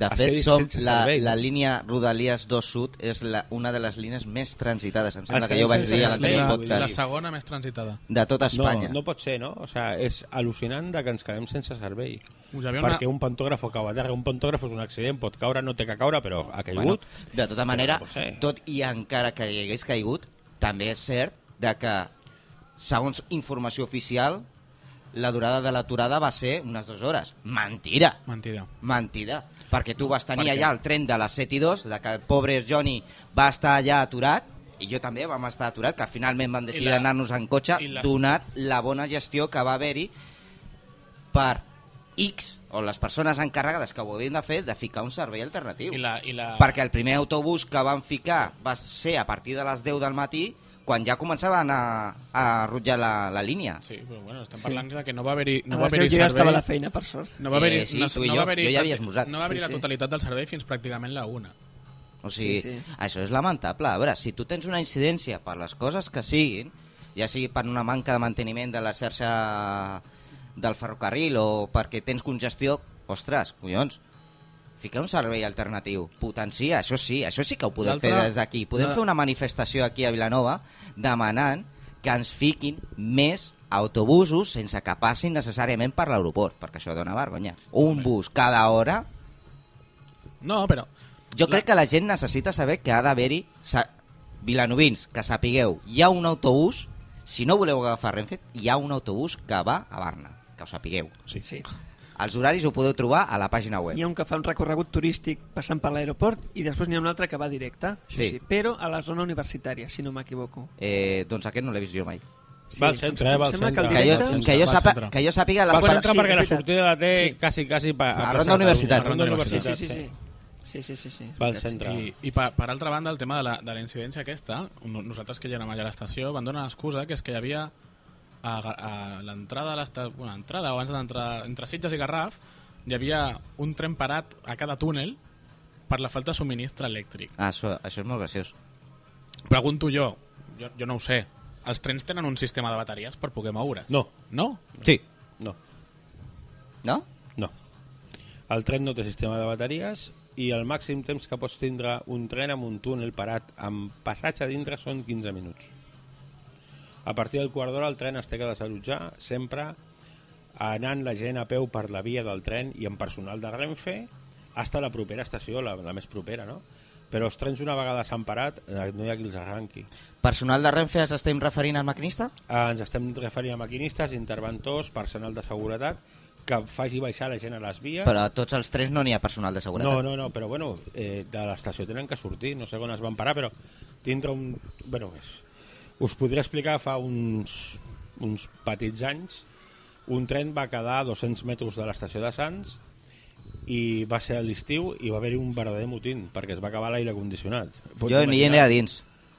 [SPEAKER 2] De
[SPEAKER 4] Es
[SPEAKER 2] fet,
[SPEAKER 4] quedi
[SPEAKER 2] som
[SPEAKER 4] sense
[SPEAKER 2] la,
[SPEAKER 4] servei.
[SPEAKER 2] la línia Rodalies 2 Sud és la, una de les línies més transitades. Em sembla
[SPEAKER 4] Es
[SPEAKER 2] que
[SPEAKER 4] quedi
[SPEAKER 2] jo vaig
[SPEAKER 4] sense
[SPEAKER 2] dir a
[SPEAKER 4] servei,
[SPEAKER 2] l'anterior
[SPEAKER 4] vull dir.
[SPEAKER 1] la, la
[SPEAKER 2] podcast.
[SPEAKER 1] segona més transitada.
[SPEAKER 2] De tota Espanya.
[SPEAKER 4] No, no pot ser, no? O sea, és al·lucinant de que ens quedem sense servei.
[SPEAKER 1] Ui, hi havia
[SPEAKER 4] perquè
[SPEAKER 1] una-
[SPEAKER 4] un pantògrafo cau a terra, un pantògraf és un accident, pot caure, no té que caure, però ha
[SPEAKER 2] bueno,
[SPEAKER 4] caigut.
[SPEAKER 2] de tota manera,
[SPEAKER 4] no pot ser.
[SPEAKER 2] tot i encara que hi hagués caigut, també és cert de que, segons informació oficial, la durada de l'aturada va ser unes dues hores. Mentira!
[SPEAKER 1] Mentida.
[SPEAKER 2] Mentida. Perquè tu vas
[SPEAKER 1] Per
[SPEAKER 2] tenir
[SPEAKER 1] què?
[SPEAKER 2] allà el tren de les 7 i 2, de que el pobre Johnny va estar allà aturat, i jo també vam estar aturat, que finalment vam decidir
[SPEAKER 1] la-
[SPEAKER 2] anar-nos en cotxe,
[SPEAKER 1] i les-
[SPEAKER 2] donat la bona gestió que va haver-hi per X, o les persones encarregades que ho havien de fer, de ficar un servei alternatiu.
[SPEAKER 1] I la, i la...
[SPEAKER 2] Perquè el primer autobús que van ficar va ser a partir de les 10 del matí, quan ja començaven a, a rutllar la, la línia.
[SPEAKER 1] Sí, però bueno, estem parlant de que no va haver-hi no
[SPEAKER 3] No
[SPEAKER 1] va
[SPEAKER 3] va
[SPEAKER 1] haver
[SPEAKER 3] jo
[SPEAKER 1] servei.
[SPEAKER 3] ja estava Ah, a la feina, per sort.
[SPEAKER 1] No va haver-hi
[SPEAKER 2] Eh, sí,
[SPEAKER 1] no,
[SPEAKER 2] tu i
[SPEAKER 1] no
[SPEAKER 2] jo.
[SPEAKER 1] va haver
[SPEAKER 2] Jo ja havia esmorzat.
[SPEAKER 1] No va haver-hi
[SPEAKER 3] Sí,
[SPEAKER 1] la
[SPEAKER 3] sí.
[SPEAKER 1] totalitat del servei fins pràcticament la una.
[SPEAKER 2] O sigui,
[SPEAKER 3] Sí,
[SPEAKER 2] sí,
[SPEAKER 3] sí.
[SPEAKER 2] sí. això és lamentable. A veure, si tu tens una incidència per les coses que siguin, ja sigui per una manca de manteniment de la xarxa del ferrocarril o perquè tens congestió, ostres, collons, fica un servei alternatiu, potencia, això sí, això sí que ho podem
[SPEAKER 1] L'altre-
[SPEAKER 2] fer des d'aquí. Podem
[SPEAKER 1] la-
[SPEAKER 2] fer una manifestació aquí a Vilanova demanant que ens fiquin més autobusos sense que passin necessàriament per l'aeroport, perquè això dona vergonya. Un bus cada hora
[SPEAKER 1] No, però...
[SPEAKER 2] jo
[SPEAKER 1] La-
[SPEAKER 2] crec que la gent necessita saber que ha d'haver-hi... sa- Vilanovins, que sapigueu, hi ha un autobús, si no voleu agafar Renfe, hi ha un autobús que va a Barna, que ho sapigueu.
[SPEAKER 1] Sí.
[SPEAKER 3] Sí.
[SPEAKER 2] Els horaris ho podeu trobar a la pàgina web.
[SPEAKER 3] Hi ha un que fa un recorregut turístic passant per l'aeroport i després n'hi ha un altre que va directe, això
[SPEAKER 2] Sí.
[SPEAKER 3] sí. però a la zona universitària, si no m'equivoco.
[SPEAKER 2] Eh, doncs aquest no l'he vist jo mai.
[SPEAKER 3] Sí,
[SPEAKER 4] Va al centre,
[SPEAKER 3] em-
[SPEAKER 4] eh,
[SPEAKER 3] em
[SPEAKER 4] va al
[SPEAKER 3] sembla que el
[SPEAKER 4] centre.
[SPEAKER 2] Que jo,
[SPEAKER 3] directe...
[SPEAKER 1] al
[SPEAKER 2] que jo,
[SPEAKER 1] centre.
[SPEAKER 2] sapa, que jo sàpiga
[SPEAKER 4] Va
[SPEAKER 2] les
[SPEAKER 4] al
[SPEAKER 3] Bueno,
[SPEAKER 4] centre
[SPEAKER 3] sí, és
[SPEAKER 4] perquè la
[SPEAKER 3] veritat.
[SPEAKER 4] sortida la té
[SPEAKER 3] Sí.
[SPEAKER 4] quasi, quasi pa-
[SPEAKER 2] A
[SPEAKER 4] plaça
[SPEAKER 2] Ronda
[SPEAKER 4] Catalunya.
[SPEAKER 2] Universitat.
[SPEAKER 4] A
[SPEAKER 1] Sí,
[SPEAKER 3] Sí,
[SPEAKER 4] Ronda
[SPEAKER 3] sí,
[SPEAKER 4] Universitat.
[SPEAKER 3] sí, sí. Sí, sí, sí, sí.
[SPEAKER 4] Va al centre.
[SPEAKER 1] I, i per, per altra banda, el tema de la, de la incidència aquesta, no- nosaltres que ja anàvem allà a l'estació, van donar l'excusa que és que hi havia a, Ga- a l'entrada de l'estació, bueno, entrada, o abans d'entrar, entre Sitges i Garraf, hi havia un tren parat a cada túnel per la falta de subministre elèctric.
[SPEAKER 2] Ah, això, això és molt graciós.
[SPEAKER 1] Pregunto jo, jo, jo no ho sé, els trens tenen un sistema de bateries per poder moure's?
[SPEAKER 4] No.
[SPEAKER 1] No?
[SPEAKER 2] Sí.
[SPEAKER 4] No,
[SPEAKER 2] No?
[SPEAKER 4] no. El tren no té sistema de bateries i el màxim temps que pots tindre un tren amb un túnel parat amb passatge a dintre són 15 minuts. A partir del quart d'hora el tren es té que desallotjar sempre anant la gent a peu per la via del tren i amb personal de Renfe fins a la propera estació, la, la més propera, no? Però els trens una vegada s'han parat eh, no hi ha qui els arranqui.
[SPEAKER 2] Personal de Renfe ens estem referint al maquinista?
[SPEAKER 4] Eh, ens estem referint a maquinistes, interventors, personal de seguretat, que faci baixar la gent a les vies.
[SPEAKER 2] Però a tots els tres no n'hi ha personal de seguretat.
[SPEAKER 4] No, no, no, però bueno, eh, de l'estació tenen que sortir, no sé on es van parar, però dintre un... Bueno, és, us podria explicar fa uns, uns petits anys un tren va quedar a 200 metres de l'estació de Sants i va ser a l'estiu i va haver-hi un verdader motín perquè es va acabar l'aire condicionat. Pots
[SPEAKER 2] Jo ni hi
[SPEAKER 4] imaginar?
[SPEAKER 2] aniré a dins.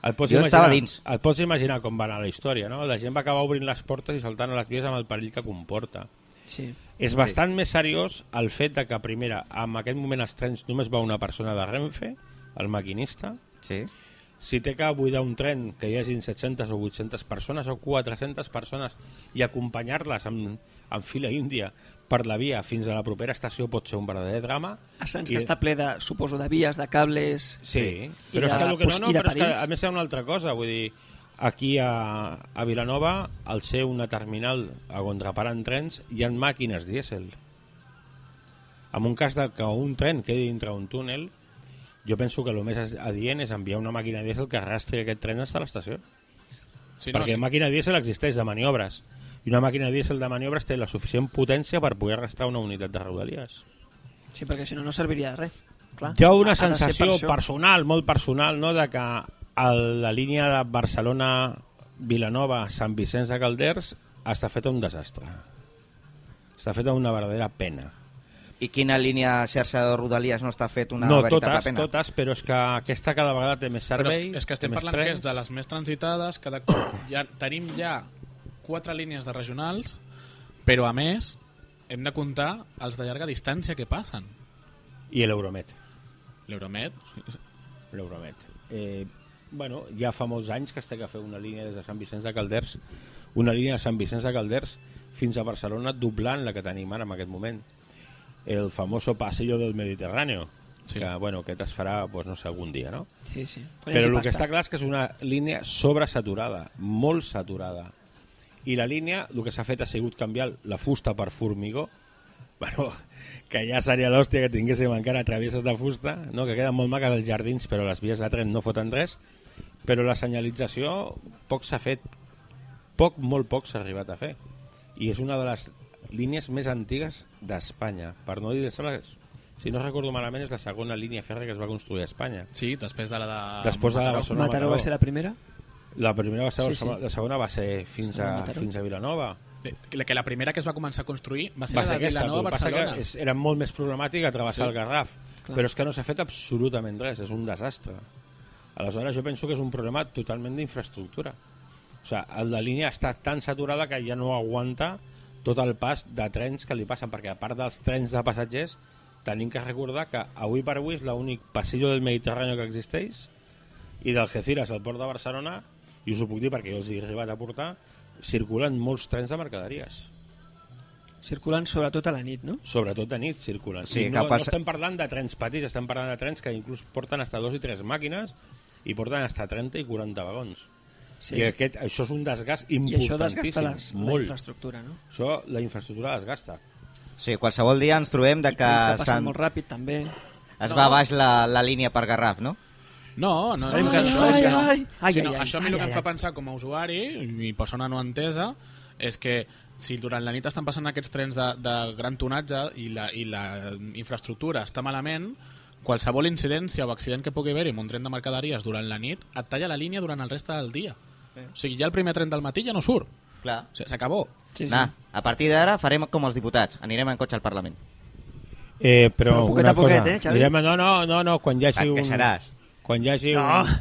[SPEAKER 4] Et pots
[SPEAKER 2] Jo
[SPEAKER 4] imaginar-
[SPEAKER 2] estava dins.
[SPEAKER 4] Et pots imaginar com va anar la història, no? La gent va acabar obrint les portes i saltant a les vies amb el perill que comporta.
[SPEAKER 3] Sí.
[SPEAKER 4] És bastant més seriós el fet de que, primera, en aquest moment als trens només va una persona de Renfe, el maquinista.
[SPEAKER 2] Sí.
[SPEAKER 4] Si té que buidar un tren que hi hagin 700 o 800 persones o 400 persones i acompanyar-les en, en fila índia per la via fins a la propera estació pot ser un verdader drama.
[SPEAKER 3] A Sants,
[SPEAKER 4] I-
[SPEAKER 3] que està ple de, suposo, de vies, de cables...
[SPEAKER 4] Sí,
[SPEAKER 3] I
[SPEAKER 4] però és
[SPEAKER 3] de-
[SPEAKER 4] que, el que no,
[SPEAKER 3] pues,
[SPEAKER 4] no,
[SPEAKER 3] i de
[SPEAKER 4] però és que
[SPEAKER 3] París?
[SPEAKER 4] a més hi ha una altra cosa, vull dir, aquí a, a Vilanova, al ser una terminal a on reparen trens, hi ha màquines dièsel. En un cas de que un tren quedi dintre un túnel, jo penso que el més adient és enviar una màquina dièsel que arrastri aquest tren fins a l'estació.
[SPEAKER 1] Sí,
[SPEAKER 4] Sí, perquè
[SPEAKER 1] és que-
[SPEAKER 4] màquina dièsel existeix de maniobres. I una màquina dièsel de maniobres té la suficient potència per poder arrastrar una unitat de rodalies.
[SPEAKER 3] Sí, perquè si no, no serviria de res. Clar.
[SPEAKER 4] Hi ha una
[SPEAKER 3] Ha de ser
[SPEAKER 4] sensació
[SPEAKER 3] per això.
[SPEAKER 4] personal, molt personal, no? de que a la línia de Barcelona-Vilanova-Sant Vicenç de Calders està feta un desastre. Està feta una verdadera pena.
[SPEAKER 2] I quina línia xarxa de Rodalies no està fet una
[SPEAKER 4] no,
[SPEAKER 2] veritable
[SPEAKER 4] totes,
[SPEAKER 2] pena?
[SPEAKER 4] totes, però és que aquesta cada vegada té més
[SPEAKER 1] Però
[SPEAKER 4] servei,
[SPEAKER 1] és, és que
[SPEAKER 4] té
[SPEAKER 1] estem
[SPEAKER 4] més
[SPEAKER 1] parlant
[SPEAKER 4] trens...
[SPEAKER 1] que és de les més transitades, que de, ja, tenim ja quatre línies de regionals, però a més hem de comptar els de llarga distància que passen.
[SPEAKER 4] I l'Euromet.
[SPEAKER 1] L'Euromet,
[SPEAKER 4] l'Euromet. Eh, bueno, ja fa molts anys que es té que fer una línia des de Sant Vicenç de Calders, una línia de Sant Vicenç de Calders fins a Barcelona, doblant la que tenim ara en aquest moment. El famoso passillo del Mediterráneo,
[SPEAKER 1] Sí.
[SPEAKER 4] sí. que, bueno, aquest es farà, pues, no sé, algun dia, no?
[SPEAKER 3] Sí, sí.
[SPEAKER 4] Però el que està clar és que és una línia sobresaturada, molt saturada. I la línia, el que s'ha fet ha sigut canviar la fusta per formigó, bueno, que ja seria l'hòstia que tinguéssim encara travesses de fusta, no? que queden molt maques els jardins, però les vies de tren no foten res, però la senyalització poc s'ha fet, poc, molt poc s'ha arribat a fer. i és una de les línies més antigues d'Espanya. Per no dir, em sembla, que és- si no recordo malament, és la segona línia ferra que es va construir a Espanya.
[SPEAKER 1] Sí, després de la de...
[SPEAKER 4] Després de la de
[SPEAKER 1] Mataró.
[SPEAKER 4] Barcelona.
[SPEAKER 3] Mataró va ser la primera.
[SPEAKER 4] La primera va ser
[SPEAKER 3] Sí,
[SPEAKER 4] Barcelona,
[SPEAKER 3] sí.
[SPEAKER 4] la segona va ser fins
[SPEAKER 3] Segona
[SPEAKER 4] a,
[SPEAKER 3] Mataró.
[SPEAKER 4] fins a Vilanova.
[SPEAKER 1] La, que la primera que es va començar a construir va ser
[SPEAKER 4] Va
[SPEAKER 1] la
[SPEAKER 4] ser
[SPEAKER 1] de
[SPEAKER 4] aquesta, tu.
[SPEAKER 1] Vilanova a
[SPEAKER 4] Passa que
[SPEAKER 1] Barcelona.
[SPEAKER 4] és, era molt més problemàtic a
[SPEAKER 1] Sí.
[SPEAKER 4] travessar sí. el Garraf,
[SPEAKER 3] Clar.
[SPEAKER 4] Clar. però és que no s'ha fet absolutament res, és un desastre. Aleshores jo penso que és un problema totalment d'infraestructura. O sigui, el de línia està tan saturada que ja no aguanta tot el pas de trens que li passen, perquè a part dels trens de passatgers tenim que recordar que avui per avui és l'únic passillo del Mediterrani que existeix i d'Algeciras al port de Barcelona i us ho puc dir perquè jo els he arribat a portar circulen molts trens de mercaderies
[SPEAKER 3] Circulant sobretot a la nit, no?
[SPEAKER 4] sobretot de nit circulen.
[SPEAKER 2] Sí,
[SPEAKER 4] Sí, no,
[SPEAKER 2] que passa-
[SPEAKER 4] no estem parlant de trens petits, estem parlant de trens que inclús porten hasta dos i tres màquines i porten hasta 30 i 40 vagons.
[SPEAKER 3] Sí.
[SPEAKER 4] Sí. I aquest, això és un desgast
[SPEAKER 3] I això desgasta
[SPEAKER 4] importantíssim.
[SPEAKER 3] la, la
[SPEAKER 4] molt.
[SPEAKER 3] infraestructura, no?
[SPEAKER 4] Això la infraestructura desgasta.
[SPEAKER 2] Sí, qualsevol dia ens trobem de
[SPEAKER 3] I
[SPEAKER 2] que,
[SPEAKER 3] trens que passen
[SPEAKER 2] s'han-
[SPEAKER 3] molt ràpid, també.
[SPEAKER 2] es va baix la, la línia per Garraf, no?
[SPEAKER 1] No, no,
[SPEAKER 3] Ai,
[SPEAKER 1] no, és
[SPEAKER 3] ai,
[SPEAKER 1] que no.
[SPEAKER 3] ai, ai,
[SPEAKER 1] Sinó,
[SPEAKER 3] ai, ai,
[SPEAKER 1] això a mi el
[SPEAKER 3] ai,
[SPEAKER 1] que em
[SPEAKER 3] ai,
[SPEAKER 1] fa
[SPEAKER 3] ai.
[SPEAKER 1] pensar com a usuari i persona no entesa és que si durant la nit estan passant aquests trens de, de gran tonatge i la, i la infraestructura està malament, qualsevol incidència o accident que pugui haver-hi amb un tren de mercaderies durant la nit et talla la línia durant el reste del dia. O sigui, ja el primer tren del matí ja no surt.
[SPEAKER 2] Clar.
[SPEAKER 1] O sigui, S'acabó.
[SPEAKER 3] Sí, sí.
[SPEAKER 2] Nah, a partir d'ara farem com els diputats, anirem en cotxe al Parlament.
[SPEAKER 4] Eh, però,
[SPEAKER 3] Però poquet a una poquet, cosa, eh, Xavi?
[SPEAKER 4] Direm, no, no, no, no, quan hi hagi
[SPEAKER 2] Et
[SPEAKER 4] un...
[SPEAKER 2] queixaràs.
[SPEAKER 4] Quan hi hagi
[SPEAKER 3] No.
[SPEAKER 4] un...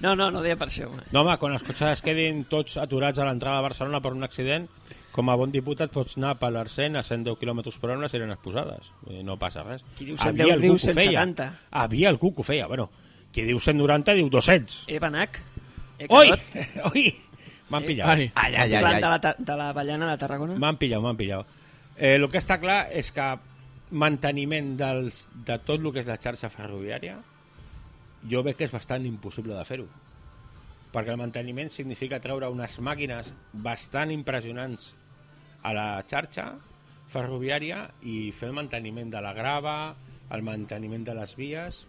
[SPEAKER 3] No, no, no deia per això. home.
[SPEAKER 4] No, home, quan els cotxes es quedin tots aturats a l'entrada de Barcelona per un accident, com a bon diputat pots anar per l'Arsen a 110 km per hora seran exposades. Vull dir, No passa res.
[SPEAKER 3] Qui diu
[SPEAKER 4] Havia
[SPEAKER 3] 110,
[SPEAKER 4] algú
[SPEAKER 3] diu
[SPEAKER 4] que ho feia.
[SPEAKER 3] 170.
[SPEAKER 4] Havia algú que ho feia. Bueno, qui diu 190 diu 200.
[SPEAKER 3] He banac. He
[SPEAKER 4] Oi!
[SPEAKER 3] carot.
[SPEAKER 4] Oi! M'han pillat.
[SPEAKER 1] Ai.
[SPEAKER 2] Ai, ai, ai,
[SPEAKER 3] Clar,
[SPEAKER 2] ai.
[SPEAKER 3] De, la, ta- de la Ballana de Tarragona.
[SPEAKER 4] M'han pillat, m'han pillat. Eh, el que està clar és que manteniment dels, de tot el que és la xarxa ferroviària jo veig que és bastant impossible de fer-ho. Perquè el manteniment significa treure unes màquines bastant impressionants a la xarxa ferroviària i fer el manteniment de la grava, el manteniment de les vies...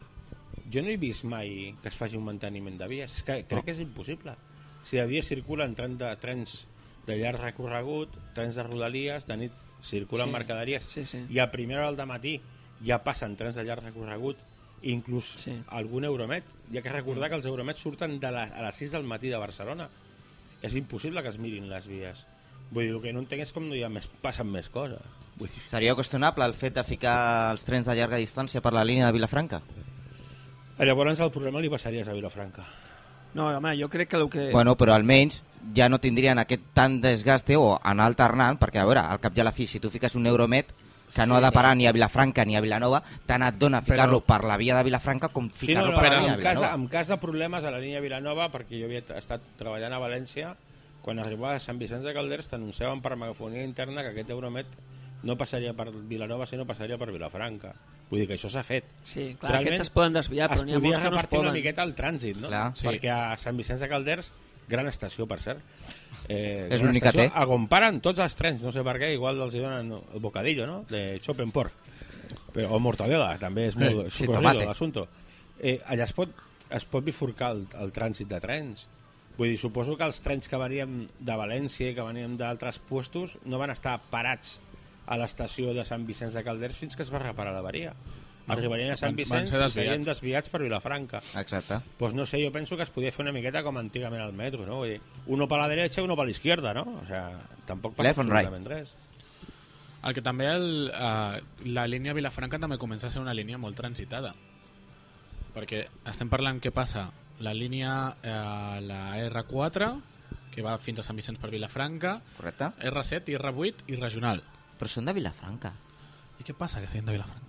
[SPEAKER 4] Jo no he vist mai que es faci un manteniment de vies. És que crec que és impossible. Si de dia circulen tren de, trens de llarg recorregut, trens de rodalies, de nit circulen
[SPEAKER 3] Sí,
[SPEAKER 4] mercaderies
[SPEAKER 3] sí, sí.
[SPEAKER 4] i a primera hora del matí ja passen trens de llarg recorregut, inclús
[SPEAKER 3] Sí.
[SPEAKER 4] sí. algun Euromet. Hi ha que recordar que els Euromets surten de la, a les 6 del matí de Barcelona. És impossible que es mirin les vies. Vull dir, el que no entenc és com no hi ha més, passen més coses. Vull dir,
[SPEAKER 2] Seria qüestionable el fet de ficar els trens de llarga distància per la línia de Vilafranca?
[SPEAKER 4] llavors el problema li passaries a Vilafranca.
[SPEAKER 3] No, home, jo crec que el que...
[SPEAKER 2] Bueno, però almenys ja no tindrien aquest tant desgaste o anar alternant, perquè a veure, al cap i a la fi, si tu fiques un euromet que no ha de parar ni a Vilafranca ni a Vilanova, tant et dona ficar-lo per la via de Vilafranca com ficar-lo per
[SPEAKER 4] però
[SPEAKER 2] la via de
[SPEAKER 4] en, cas, de-
[SPEAKER 2] Vilanova.
[SPEAKER 4] en cas de problemes a la línia Vilanova, perquè jo havia t- estat treballant a València, quan arribava a Sant Vicenç de Calders t'anunciaven per megafonia interna que aquest Euromet no passaria per Vilanova, sinó passaria per Vilafranca. Vull dir que això s'ha fet.
[SPEAKER 3] Sí, clar,
[SPEAKER 4] Realment,
[SPEAKER 3] aquests es poden desviar, però
[SPEAKER 4] es
[SPEAKER 3] n'hi ha
[SPEAKER 4] podia
[SPEAKER 3] molts que no es
[SPEAKER 4] repartir
[SPEAKER 3] poden.
[SPEAKER 4] una miqueta el trànsit, no?
[SPEAKER 2] Clar.
[SPEAKER 1] Sí.
[SPEAKER 4] Perquè a Sant Vicenç de Calders, gran estació, per cert, eh,
[SPEAKER 2] És
[SPEAKER 4] gran
[SPEAKER 2] l'única
[SPEAKER 4] estació,
[SPEAKER 2] té.
[SPEAKER 4] A on paren tots els trens, no sé per què, igual els hi donen el bocadillo, no?, de Chopenport. Però, o mortadela, també és molt eh,
[SPEAKER 2] sí, tomate.
[SPEAKER 4] socorrido l'assumpte. Eh, allà es pot, es pot bifurcar el, el trànsit de trens. Vull dir, suposo que els trens que veníem de València i que veníem d'altres puestos no van estar parats a l'estació de Sant Vicenç de Calders fins que es va reparar la varia. Arribarien a
[SPEAKER 1] van- van
[SPEAKER 4] Sant Vicenç
[SPEAKER 1] ser
[SPEAKER 4] i
[SPEAKER 1] desviats.
[SPEAKER 4] serien desviats per Vilafranca.
[SPEAKER 2] Exacte.
[SPEAKER 4] Pues no sé, yo pienso que es podía hacer una miqueta como antiguamente al metro, ¿no? Oye, uno para la derecha, uno para la izquierda, ¿no? O sea, tampoco pasa
[SPEAKER 2] Left and right.
[SPEAKER 4] absolutament res.
[SPEAKER 1] El que també el, eh, la línia Vilafranca també comença a ser una línia molt transitada. Perquè estem parlant què passa. La línia, eh, la R4, que va fins a Sant Vicenç per Vilafranca,
[SPEAKER 2] Correcte?
[SPEAKER 1] R7, R8 i regional.
[SPEAKER 2] Però són de Vilafranca.
[SPEAKER 1] I què passa que siguin de Vilafranca?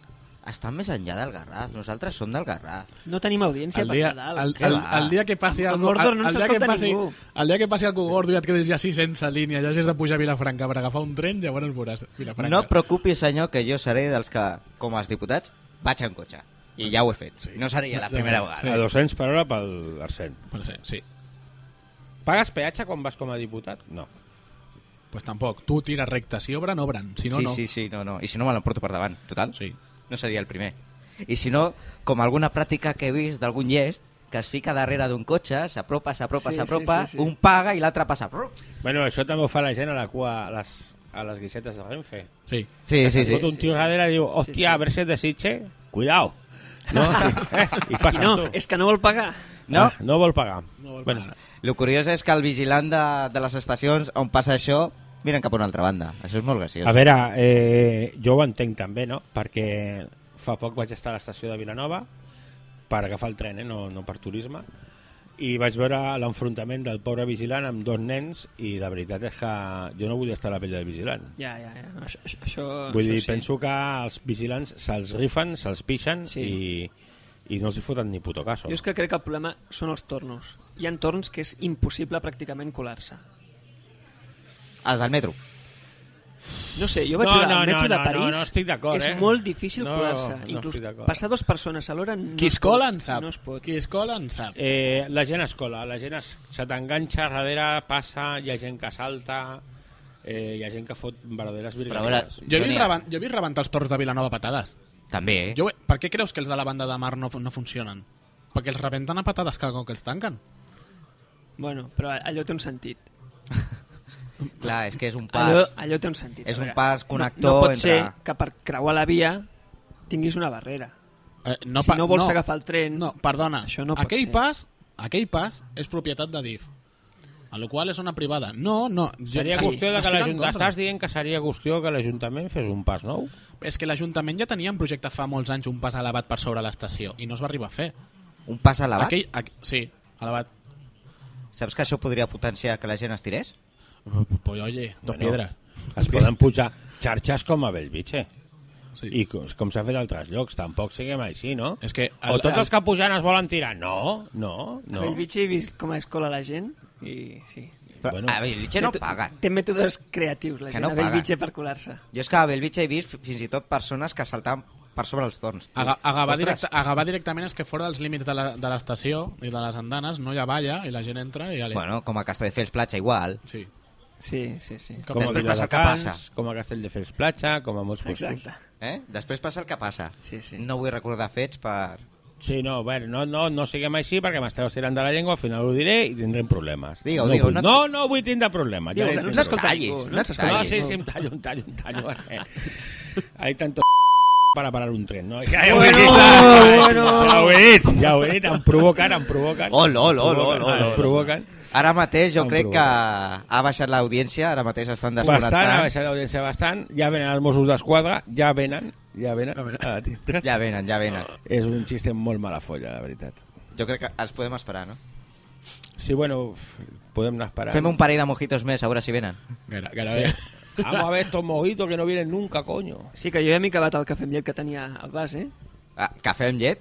[SPEAKER 2] Estan més enllà del Garraf. Nosaltres som del Garraf.
[SPEAKER 3] No tenim audiència
[SPEAKER 1] El
[SPEAKER 3] per
[SPEAKER 1] dia,
[SPEAKER 3] Nadal.
[SPEAKER 1] el,
[SPEAKER 2] què
[SPEAKER 1] el,
[SPEAKER 2] va?
[SPEAKER 1] el dia que passi
[SPEAKER 3] Amb
[SPEAKER 1] algo,
[SPEAKER 3] Mordor
[SPEAKER 1] el,
[SPEAKER 3] no ens
[SPEAKER 1] el, dia que
[SPEAKER 3] escolta
[SPEAKER 1] passi,
[SPEAKER 3] ningú.
[SPEAKER 1] el dia que passi algo gordo i et quedis ja així sense línia, ja hagis de pujar a Vilafranca per agafar un tren, llavors veuràs Vilafranca.
[SPEAKER 2] No et preocupis, senyor, que jo seré dels que, com els diputats, vaig en cotxe. I ja ho he fet. No seria la
[SPEAKER 1] De- de
[SPEAKER 2] primera
[SPEAKER 1] veritat,
[SPEAKER 2] vegada.
[SPEAKER 4] A 200 per hora pel Arsène.
[SPEAKER 1] Però sí, sí.
[SPEAKER 4] Pagues peatge quan vas com a diputat? No.
[SPEAKER 1] Pues tampoc. Tu tires recte. Si obren, obren. Si no,
[SPEAKER 2] sí,
[SPEAKER 1] no.
[SPEAKER 2] sí, sí, no, no. I si no, me l'emporto per davant. Total,
[SPEAKER 1] Sí.
[SPEAKER 2] no seria el primer. I si no, com alguna pràctica que he vist d'algun llest, que es fica darrere d'un cotxe, s'apropa, s'apropa,
[SPEAKER 3] Sí, sí,
[SPEAKER 2] s'apropa,
[SPEAKER 3] sí, sí.
[SPEAKER 2] un paga i l'altre passa. Rup.
[SPEAKER 4] Bueno, això també ho fa la gent a la cua, a les a las guisetas de Renfe.
[SPEAKER 1] Sí.
[SPEAKER 2] Sí, sí,
[SPEAKER 4] Sí,
[SPEAKER 2] sí.
[SPEAKER 4] un tío radera y digo, hostia, a ver si es de Sitges, cuidado. No, y
[SPEAKER 3] I
[SPEAKER 4] passa
[SPEAKER 3] no,
[SPEAKER 4] tu.
[SPEAKER 3] és que no vol pagar.
[SPEAKER 2] No?
[SPEAKER 4] Ah, no vol pagar.
[SPEAKER 1] No vol
[SPEAKER 4] Bueno,
[SPEAKER 1] pagar.
[SPEAKER 2] El curiós és que el vigilant de, de les estacions on passa això miren cap a una altra banda. Això és molt graciós.
[SPEAKER 4] A veure, eh, jo ho entenc també, no? Perquè fa poc vaig estar a l'estació de Vilanova per agafar el tren, eh? no, no per turisme, i vaig veure l'enfrontament del pobre vigilant amb dos nens i la veritat és que jo no vull estar a la pell del vigilant.
[SPEAKER 3] Ja, ja, ja. No, això, això,
[SPEAKER 4] Vull
[SPEAKER 3] Ah, això
[SPEAKER 4] dir,
[SPEAKER 3] sí.
[SPEAKER 4] penso que els vigilants se'ls rifen, se'ls pixen
[SPEAKER 3] Sí.
[SPEAKER 4] i, i no els hi foten ni puto caso.
[SPEAKER 3] Jo és que crec que el problema són els tornos. Hi ha torns que és impossible pràcticament colar-se.
[SPEAKER 2] Els del metro.
[SPEAKER 3] No sé, jo vaig
[SPEAKER 4] No,
[SPEAKER 3] veure
[SPEAKER 4] no,
[SPEAKER 3] el metro
[SPEAKER 4] no,
[SPEAKER 3] de
[SPEAKER 4] no,
[SPEAKER 3] París.
[SPEAKER 4] no, no estic d'acord,
[SPEAKER 3] És
[SPEAKER 4] eh?
[SPEAKER 3] molt difícil
[SPEAKER 4] No,
[SPEAKER 3] colar-se.
[SPEAKER 4] no
[SPEAKER 3] Inclús
[SPEAKER 4] estic d'acord.
[SPEAKER 3] passar dues persones alhora no
[SPEAKER 1] Qui
[SPEAKER 3] es
[SPEAKER 1] es
[SPEAKER 3] pot,
[SPEAKER 1] cola en sap.
[SPEAKER 3] No es pot.
[SPEAKER 1] Qui es cola en sap.
[SPEAKER 4] Eh, la gent es cola, la gent es, se t'enganxa darrere, passa, hi ha gent que salta, eh, hi ha gent que fot verdaderes
[SPEAKER 2] Però a veure,
[SPEAKER 4] virgueries.
[SPEAKER 1] Jo he, vist
[SPEAKER 2] Toni,
[SPEAKER 1] reban, jo he vist rebentar els torns de Vilanova a patades.
[SPEAKER 2] També, eh?
[SPEAKER 1] Jo, per què creus que els de la banda de mar no, no funcionen? Perquè els rebenten a patades cada cop que els tanquen.
[SPEAKER 3] Bueno, però allò té un sentit.
[SPEAKER 2] Clar, és que és un pas...
[SPEAKER 3] Allò, allò té un sentit.
[SPEAKER 2] És
[SPEAKER 3] A
[SPEAKER 2] un
[SPEAKER 3] veure,
[SPEAKER 2] pas
[SPEAKER 3] no,
[SPEAKER 2] connector
[SPEAKER 3] no pot
[SPEAKER 2] entre-
[SPEAKER 3] ser que per creuar la via tinguis una barrera.
[SPEAKER 1] Eh,
[SPEAKER 3] Si
[SPEAKER 1] pa-
[SPEAKER 3] no vols agafar el tren-
[SPEAKER 1] No, perdona.
[SPEAKER 3] Això no pot
[SPEAKER 1] aquell
[SPEAKER 3] ser.
[SPEAKER 1] pas, aquell pas és propietat de DIF. A la qual és una privada. No, no. Jo
[SPEAKER 4] Seria
[SPEAKER 1] estic-
[SPEAKER 4] qüestió de que
[SPEAKER 1] estic en
[SPEAKER 4] l'Ajuntament...
[SPEAKER 1] contra.
[SPEAKER 4] Estàs dient que seria qüestió que l'Ajuntament fes un pas nou?
[SPEAKER 1] És que l'Ajuntament ja tenia en projecte fa molts anys un pas elevat per sobre l'estació i no es va arribar a fer.
[SPEAKER 2] Un pas elevat?
[SPEAKER 1] Aquell, aqu sí, elevat.
[SPEAKER 2] Saps que això podria potenciar que la gent es tirés?
[SPEAKER 1] Pues oye, dos
[SPEAKER 4] Bueno,
[SPEAKER 1] piedras.
[SPEAKER 4] Es poden pujar xarxes com a Belvitge.
[SPEAKER 1] Sí.
[SPEAKER 4] I com, com s'ha fet a altres llocs, tampoc siguem així, no?
[SPEAKER 1] És que
[SPEAKER 4] El, o
[SPEAKER 1] el-
[SPEAKER 4] tots
[SPEAKER 1] el-
[SPEAKER 4] els que pujan es volen tirar. No, no,
[SPEAKER 3] No.
[SPEAKER 4] no.
[SPEAKER 3] El bitxi he vist com es cola la gent i sí.
[SPEAKER 2] Però,
[SPEAKER 4] Bueno.
[SPEAKER 2] bueno, a Bellvitge no
[SPEAKER 3] Té-
[SPEAKER 2] paguen.
[SPEAKER 3] Té mètodes creatius, la
[SPEAKER 2] Que
[SPEAKER 3] gent,
[SPEAKER 2] no
[SPEAKER 3] no a
[SPEAKER 2] paguen.
[SPEAKER 3] Bellvitge per colar-se.
[SPEAKER 2] Jo és que a Bellvitge he vist fins i tot persones que saltaven per sobre els torns.
[SPEAKER 1] Aga- Agavar,
[SPEAKER 2] Ostres,
[SPEAKER 1] directa, agavar directament és que fora dels límits de la- de l'estació i de les andanes no hi ha valla i la gent entra i ale.
[SPEAKER 2] Bueno, com a Castelldefels platja igual.
[SPEAKER 1] Sí.
[SPEAKER 3] Sí, sí, sí.
[SPEAKER 1] Com
[SPEAKER 4] Com a
[SPEAKER 2] Després passa el que
[SPEAKER 4] Viladecans,
[SPEAKER 2] passa.
[SPEAKER 4] Com a Castelldefels Platja, com a molts llocs.
[SPEAKER 3] Exacte.
[SPEAKER 2] Eh? Després passa el que passa.
[SPEAKER 3] Sí, sí.
[SPEAKER 2] No vull recordar fets per...
[SPEAKER 4] Sí, no, bueno, no, no, no siguem així perquè m'esteu estirant de la llengua, al final ho diré i tindrem problemes.
[SPEAKER 2] Digue-ho,
[SPEAKER 4] no,
[SPEAKER 2] digue-ho, no-
[SPEAKER 4] vull- No, no vull tindre problemes.
[SPEAKER 3] Diu,
[SPEAKER 4] ja
[SPEAKER 3] que no
[SPEAKER 4] n'hi
[SPEAKER 3] ens
[SPEAKER 4] tindré.
[SPEAKER 3] escolta
[SPEAKER 2] Tallis,
[SPEAKER 3] ningú.
[SPEAKER 2] no
[SPEAKER 3] No ens escolta
[SPEAKER 4] No,
[SPEAKER 2] tallis.
[SPEAKER 4] sí,
[SPEAKER 3] ningú.
[SPEAKER 4] sí, un tallo, un tallo, un tallo. eh. Hay tanto para parar un tren, no? Ja,
[SPEAKER 3] Bueno, bueno.
[SPEAKER 4] ja ho he dit, ja ho he dit, em provoquen, em provoquen.
[SPEAKER 2] Ol, ol, ol,
[SPEAKER 4] Em
[SPEAKER 2] ol,
[SPEAKER 4] provoquen,
[SPEAKER 2] ol, ol.
[SPEAKER 4] Em provoquen.
[SPEAKER 2] Ara mateix jo
[SPEAKER 4] Em
[SPEAKER 2] crec que
[SPEAKER 4] provoca.
[SPEAKER 2] ha baixat l'audiència, ara mateix estan
[SPEAKER 4] Bastant, ha
[SPEAKER 2] desconnectant.
[SPEAKER 4] baixat l'audiència bastant, ja venen els Mossos d'Esquadra, ja venen, ja venen. Ah,
[SPEAKER 2] Ja venen, ja venen.
[SPEAKER 4] És un xiste molt mala folla, la veritat.
[SPEAKER 2] Jo crec que els podem esperar, no?
[SPEAKER 4] Sí, bueno, podem anar esperant.
[SPEAKER 2] Fem un parell de mojitos més, a veure si venen.
[SPEAKER 1] Gara, gairebé.
[SPEAKER 4] Vamos a ver estos mojitos que no vienen nunca, coño.
[SPEAKER 3] Sí, que jo ja m'he acabat el cafè amb llet que tenia al vas, eh?
[SPEAKER 2] Ah, cafè amb llet?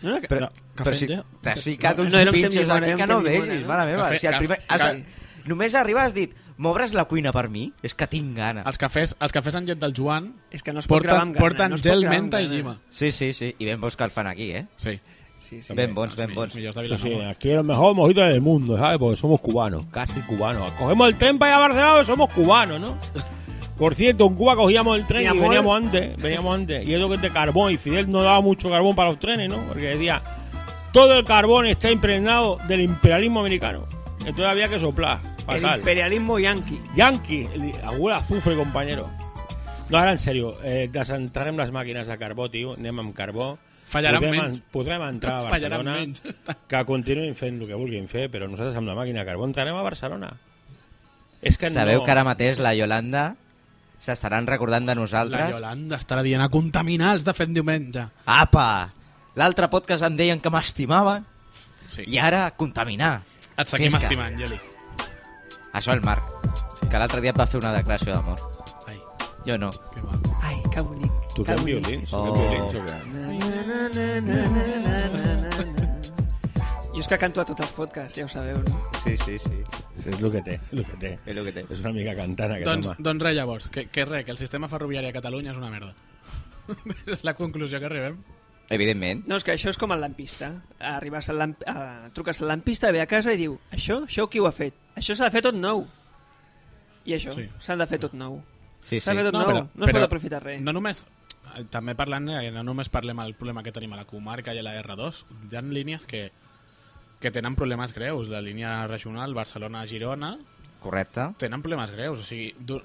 [SPEAKER 3] No, no,
[SPEAKER 1] No, cafè
[SPEAKER 2] però
[SPEAKER 1] amb
[SPEAKER 2] si
[SPEAKER 1] llet?
[SPEAKER 2] t'has ficat
[SPEAKER 3] No,
[SPEAKER 2] uns
[SPEAKER 3] no, era un
[SPEAKER 2] pinxos
[SPEAKER 3] temimona,
[SPEAKER 2] aquí
[SPEAKER 3] era un
[SPEAKER 2] que no
[SPEAKER 3] temimona.
[SPEAKER 2] vegis, mare meva.
[SPEAKER 1] Cafè,
[SPEAKER 2] si el primer,
[SPEAKER 1] cafè,
[SPEAKER 2] has,
[SPEAKER 1] cafè.
[SPEAKER 2] només arribes has dit, m'obres la cuina per mi? És que tinc gana.
[SPEAKER 1] Els cafès, els cafès amb llet del Joan
[SPEAKER 3] és que no es pot gravar
[SPEAKER 1] porten,
[SPEAKER 3] amb gana.
[SPEAKER 1] porten
[SPEAKER 3] no es pot
[SPEAKER 1] gel,
[SPEAKER 3] gravar amb
[SPEAKER 1] menta i
[SPEAKER 3] gana.
[SPEAKER 1] llima.
[SPEAKER 2] Sí, sí, sí. I ben bons que el fan aquí, eh?
[SPEAKER 1] Sí.
[SPEAKER 3] Sí, sí.
[SPEAKER 2] Ben bons, ben
[SPEAKER 1] Los
[SPEAKER 2] bons.
[SPEAKER 1] millors de
[SPEAKER 4] Sí, sí,
[SPEAKER 1] Vilanova.
[SPEAKER 4] aquí los mejores mojitos del mundo, ¿sabes? Porque somos cubanos, casi cubanos. Cogemos el tren para ir a Barcelona, pero somos cubanos, ¿no? Por cierto, en Cuba cogíamos el tren
[SPEAKER 3] Mi
[SPEAKER 4] y
[SPEAKER 3] amor.
[SPEAKER 4] veníamos antes, veníamos antes. Y eso que es de carbón, y Fidel no daba mucho carbón para los trenes, ¿no? Porque decía, todo el carbón está impregnado del imperialismo americano. Entonces había que soplar,
[SPEAKER 3] El
[SPEAKER 4] fatal.
[SPEAKER 3] imperialismo yanqui.
[SPEAKER 4] Yankee, el- agüera azufre, compañero. No, ara, en sèrio, eh, desenterrem les màquines de carbó, tio, anem amb carbó.
[SPEAKER 1] Fallaran
[SPEAKER 4] podrem,
[SPEAKER 1] menys.
[SPEAKER 4] en- Podrem entrar a
[SPEAKER 1] Fallaran
[SPEAKER 4] Barcelona,
[SPEAKER 1] menys.
[SPEAKER 4] que continuïn fent el que vulguin fer, però nosaltres amb la màquina de carbó entrarem a Barcelona. És que
[SPEAKER 2] Sabeu
[SPEAKER 4] no...
[SPEAKER 2] que ara mateix la Yolanda s'estaran recordant
[SPEAKER 1] La
[SPEAKER 2] de nosaltres?
[SPEAKER 1] Yolanda estarà dient a contaminar els de fem diumenge.
[SPEAKER 2] Apa! L'altre podcast em deien que m'estimaven
[SPEAKER 1] Sí.
[SPEAKER 2] i ara contaminar.
[SPEAKER 1] Et seguim
[SPEAKER 2] Si és que-
[SPEAKER 1] estimant, Geli.
[SPEAKER 2] Això el Marc, que l'altre dia et va fer una declaració d'amor.
[SPEAKER 1] Ai,
[SPEAKER 2] Jo no.
[SPEAKER 1] que mal.
[SPEAKER 3] Ai, que bonic. que
[SPEAKER 4] Toquem
[SPEAKER 3] bonic.
[SPEAKER 4] violins,
[SPEAKER 2] Oh.
[SPEAKER 4] toquem violins, toquem.
[SPEAKER 3] Na, na, na, na, na, na, na. Jo és que canto a tots els podcasts, ja ho sabeu, no?
[SPEAKER 2] Sí, sí, sí.
[SPEAKER 4] És el que té, el que té.
[SPEAKER 2] És el que té.
[SPEAKER 4] És una mica cantant, aquest
[SPEAKER 1] Doncs,
[SPEAKER 4] home.
[SPEAKER 1] doncs res, llavors, que, que res, que el sistema ferroviari a Catalunya és una merda. és la conclusió que arribem.
[SPEAKER 2] Evidentment.
[SPEAKER 3] No, és que això és com el lampista. Arribes al lamp... a... truques al lampista, ve a casa i diu això, això qui ho ha fet? Això s'ha de fer tot nou. I això,
[SPEAKER 1] Sí.
[SPEAKER 3] s'ha de fer tot nou.
[SPEAKER 2] Sí, sí.
[SPEAKER 3] S'ha de fer tot nou, no es pot aprofitar res.
[SPEAKER 1] No només, eh, també parlant, eh, no només parlem del problema que tenim a la comarca i a la R2, hi ha línies que, que tenen problemes greus. La línia regional Barcelona-Girona
[SPEAKER 2] Correcte.
[SPEAKER 1] tenen problemes greus. O sigui, du-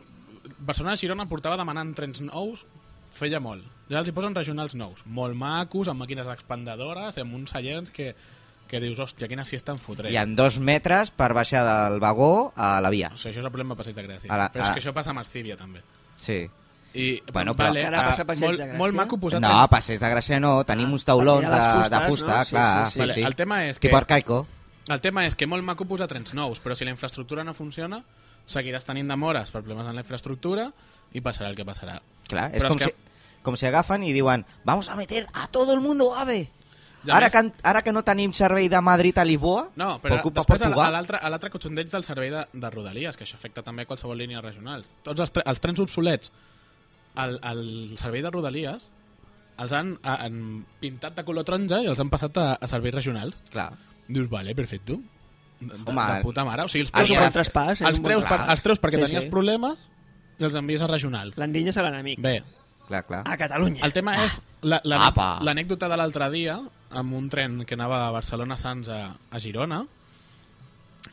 [SPEAKER 1] Barcelona-Girona portava demanant trens nous, feia molt. Ja els hi posen regionals nous, molt macos, amb màquines expandadores, amb uns seients que, que dius, hòstia, quina siesta em fotré.
[SPEAKER 2] Hi ha dos metres per baixar del vagó a la via.
[SPEAKER 1] O sigui, això és el problema a Passeig de Gràcia.
[SPEAKER 2] A la-
[SPEAKER 1] però és
[SPEAKER 2] a-
[SPEAKER 1] que això passa amb Estíbia, també.
[SPEAKER 2] Sí.
[SPEAKER 1] I,
[SPEAKER 2] Bueno, però-
[SPEAKER 1] vale,
[SPEAKER 3] Que ara
[SPEAKER 1] ah,
[SPEAKER 3] passa a Passeig
[SPEAKER 1] molt,
[SPEAKER 3] de Gràcia?
[SPEAKER 1] molt maco posar
[SPEAKER 2] No, a Passeig de Gràcia no,
[SPEAKER 1] Ah,
[SPEAKER 2] tenim uns taulons
[SPEAKER 3] perquè hi ha les
[SPEAKER 2] de, de
[SPEAKER 3] fustes,
[SPEAKER 2] fusta,
[SPEAKER 3] no? Sí,
[SPEAKER 2] clar.
[SPEAKER 3] sí,
[SPEAKER 2] Sí,
[SPEAKER 3] sí.
[SPEAKER 2] sí,
[SPEAKER 1] Vale, el tema és que-
[SPEAKER 2] Tipo arcaico.
[SPEAKER 1] El tema és que molt maco posar trens nous, però si la infraestructura no funciona, seguiràs tenint demores per problemes en la infraestructura i passarà el que passarà.
[SPEAKER 2] Clar, és
[SPEAKER 1] Però
[SPEAKER 2] com,
[SPEAKER 1] és que-
[SPEAKER 2] si, com si agafen i diuen vamos a meter a todo el mundo AVE.
[SPEAKER 1] I a
[SPEAKER 2] Ara
[SPEAKER 1] més-
[SPEAKER 2] que, en- ara que no tenim servei de Madrid a Lisboa,
[SPEAKER 1] No, però
[SPEAKER 2] ocupa
[SPEAKER 1] després a la- a
[SPEAKER 2] Portugal.
[SPEAKER 1] l'altre a l'altre cotxondeig del servei de, de Rodalies, que això afecta també qualsevol línia regional. Tots els, tre els trens obsolets al, al servei de Rodalies els han, a, han pintat de color taronja i els han passat a, a serveis regionals.
[SPEAKER 2] Clar.
[SPEAKER 1] Dius, vale, perfecto. De, de,
[SPEAKER 2] Home,
[SPEAKER 1] de puta mare. O sigui, els
[SPEAKER 2] Ah,
[SPEAKER 1] treus,
[SPEAKER 2] hi ha
[SPEAKER 1] per-
[SPEAKER 2] un
[SPEAKER 3] traspàs, eh,
[SPEAKER 1] els,
[SPEAKER 3] un
[SPEAKER 1] treus
[SPEAKER 2] bon
[SPEAKER 1] per,
[SPEAKER 2] traspàs.
[SPEAKER 1] els treus perquè
[SPEAKER 3] Sí,
[SPEAKER 1] tenies
[SPEAKER 3] sí.
[SPEAKER 1] problemes i els envies a regionals.
[SPEAKER 3] L'endinya és a l'enemic.
[SPEAKER 1] Bé,
[SPEAKER 2] Clar, clar.
[SPEAKER 1] Ah,
[SPEAKER 3] A Catalunya.
[SPEAKER 1] el tema és la- la-
[SPEAKER 2] Apa.
[SPEAKER 1] l'anècdota de l'altre dia amb un tren que anava de Barcelona-Sants a, a Girona.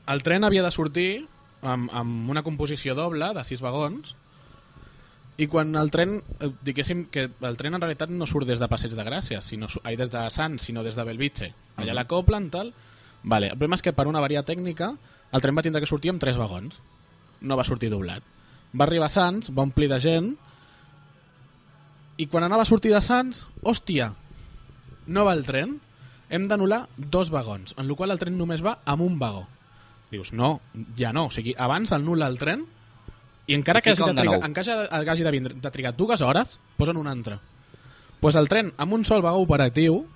[SPEAKER 1] El tren havia de sortir amb, amb una composició doble de sis vagons i quan el tren, eh, diguéssim que el tren en realitat no surt des de Passeig de Gràcia, sinó, su- ai, des de Sants, sinó des de Belvitge. Allà la coplen, tal... Vale, el problema és que per una varia tècnica el tren va tindre que sortir amb tres vagons. No va sortir doblat. Va arribar a Sants, va omplir de gent, i quan anava a sortir de Sants, hòstia, no va el tren, hem d'anul·lar dos vagons, en la qual el tren només va amb un vagó. Dius, no, ja no. O sigui, abans anul·la el tren i encara
[SPEAKER 2] I
[SPEAKER 1] que hagi,
[SPEAKER 2] fica
[SPEAKER 1] de
[SPEAKER 2] un de
[SPEAKER 1] trigar,
[SPEAKER 2] nou.
[SPEAKER 1] encara que hagi de, vindre, de trigar dues hores, posen un altre. pues el tren, amb un sol vagó operatiu,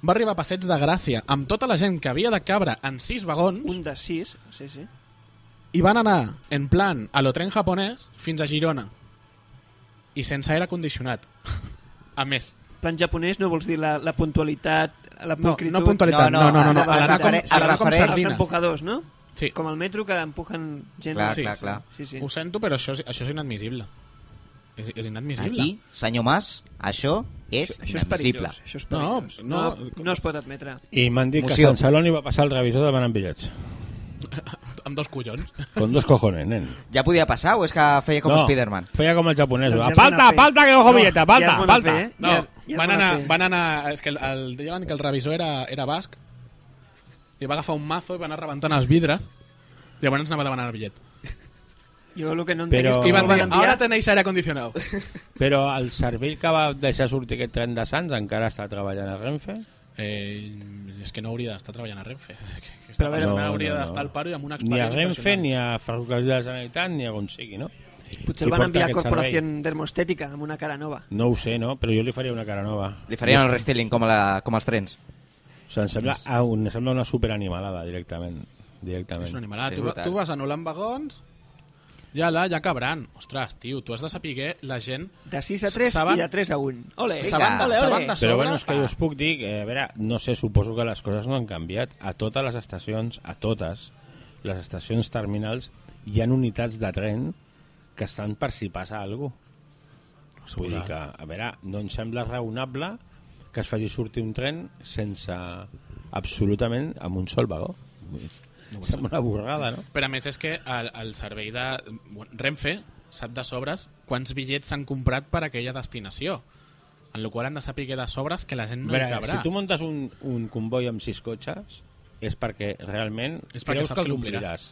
[SPEAKER 1] va arribar a Passeig de Gràcia amb tota la gent que havia de cabre en sis vagons
[SPEAKER 3] Un de sis, sí, sí.
[SPEAKER 1] i van anar, en plan, a lo tren japonès fins a Girona. I sense aire condicionat. a més.
[SPEAKER 3] Plan japonès no vols dir la, la puntualitat, la
[SPEAKER 1] No,
[SPEAKER 3] pulcritud... Eh,
[SPEAKER 1] no puntualitat,
[SPEAKER 2] No,
[SPEAKER 1] no, no,
[SPEAKER 2] no,
[SPEAKER 1] no, no, no.
[SPEAKER 2] es
[SPEAKER 1] a l'anar com,
[SPEAKER 2] refereix-
[SPEAKER 1] a l'anar com
[SPEAKER 2] es refereix-
[SPEAKER 3] Els
[SPEAKER 1] sardines.
[SPEAKER 3] empocadors, no?
[SPEAKER 1] Sí.
[SPEAKER 3] Com el metro que empujen gent.
[SPEAKER 2] Clar,
[SPEAKER 3] Sí,
[SPEAKER 2] clar,
[SPEAKER 3] sí.
[SPEAKER 2] clar.
[SPEAKER 3] Sí, sí.
[SPEAKER 1] Ho sento, però això, és- això és inadmissible. És, és inadmissible.
[SPEAKER 2] Aquí, senyor Mas, això és
[SPEAKER 3] Això és
[SPEAKER 2] inadmissible.
[SPEAKER 3] perillós. Això és
[SPEAKER 1] No,
[SPEAKER 3] perillós.
[SPEAKER 1] no.
[SPEAKER 3] no, no es pot admetre.
[SPEAKER 4] I m'han dit que a
[SPEAKER 2] Moció.
[SPEAKER 4] Sant Celoni va passar el revisor demanant bitllets.
[SPEAKER 1] Amb dos collons.
[SPEAKER 4] Con dos cojones, nen.
[SPEAKER 1] eh.
[SPEAKER 2] Ja podia passar o és que feia com
[SPEAKER 4] no,
[SPEAKER 2] Spiderman?
[SPEAKER 4] Feia com el japonès.
[SPEAKER 3] Doncs
[SPEAKER 4] va,
[SPEAKER 3] ja és
[SPEAKER 4] falta,
[SPEAKER 3] bona fe.
[SPEAKER 4] falta, que cojo
[SPEAKER 3] No,
[SPEAKER 4] billeta,
[SPEAKER 3] ja
[SPEAKER 4] falta,
[SPEAKER 3] és bona
[SPEAKER 4] falta.
[SPEAKER 3] fe, eh?
[SPEAKER 1] No,
[SPEAKER 3] Ja és- ja és
[SPEAKER 1] van,
[SPEAKER 3] bona
[SPEAKER 1] anar,
[SPEAKER 3] fe.
[SPEAKER 1] van anar... És que el, el, deien que el revisor era, era basc i va agafar un mazo i va anar rebentant els vidres i llavors anava demanant el bitllet.
[SPEAKER 3] Jo el que no entenc
[SPEAKER 4] Però-
[SPEAKER 3] és
[SPEAKER 1] I
[SPEAKER 3] com
[SPEAKER 1] van dir,
[SPEAKER 3] el Oh. van enviar...
[SPEAKER 1] ara tenéis aire acondicionado.
[SPEAKER 4] Però el cervell que va deixar sortir aquest tren de Sants encara està treballant a Renfe.
[SPEAKER 1] Eh, és que no hauria d'estar treballant a Renfe. Que, que està
[SPEAKER 3] Però a
[SPEAKER 1] veure,
[SPEAKER 3] veure,
[SPEAKER 1] no,
[SPEAKER 4] no,
[SPEAKER 1] hauria
[SPEAKER 4] no, no.
[SPEAKER 1] d'estar al paro i amb una
[SPEAKER 4] Ni a
[SPEAKER 1] experiència
[SPEAKER 4] Renfe,
[SPEAKER 1] impressionant.
[SPEAKER 4] ni a Ferrocarrils de la Generalitat, ni a on sigui, no?
[SPEAKER 3] Potser
[SPEAKER 4] i
[SPEAKER 3] el van
[SPEAKER 4] porta
[SPEAKER 3] enviar a
[SPEAKER 4] aquest
[SPEAKER 3] Corporació Dermostètica amb una cara nova.
[SPEAKER 4] No ho sé, no? Però jo li faria una cara nova.
[SPEAKER 2] Li farien el restyling com, a la, com els trens.
[SPEAKER 4] O sigui, em sembla, ah, un, em sembla una superanimalada, directament. directament.
[SPEAKER 1] És una animalada.
[SPEAKER 2] És
[SPEAKER 1] Tu, va-
[SPEAKER 2] brutal.
[SPEAKER 1] tu vas anul·lant vagons, ja la, ja cabran. Ostres, tio, tu has de saber la gent...
[SPEAKER 3] De 6 a 3
[SPEAKER 1] Saben-
[SPEAKER 3] i de 3 a 1. Ole,
[SPEAKER 1] Saben de-
[SPEAKER 3] ole,
[SPEAKER 1] saben
[SPEAKER 3] ole.
[SPEAKER 1] de-
[SPEAKER 4] Però
[SPEAKER 1] sobre,
[SPEAKER 4] bueno, és que
[SPEAKER 1] va.
[SPEAKER 4] jo us puc dir, que, a veure, no sé, suposo que les coses no han canviat. A totes les estacions, a totes, les estacions terminals, hi ha unitats de tren que estan per si passa alguna cosa. Vull dir que, a veure, no em sembla raonable que es faci sortir un tren sense absolutament amb un sol vagó. No sembla una borrada, no?
[SPEAKER 1] Però a més és que el, el servei de bueno, Renfe sap de sobres quants bitllets s'han comprat per a aquella destinació. En la qual han de saber de sobres que la gent no
[SPEAKER 4] Mira,
[SPEAKER 1] hi cabrà.
[SPEAKER 4] eh, si tu muntes un, un convoi amb sis cotxes, és perquè realment
[SPEAKER 1] És perquè
[SPEAKER 4] creus
[SPEAKER 1] saps
[SPEAKER 4] que els
[SPEAKER 1] que
[SPEAKER 4] ompliràs.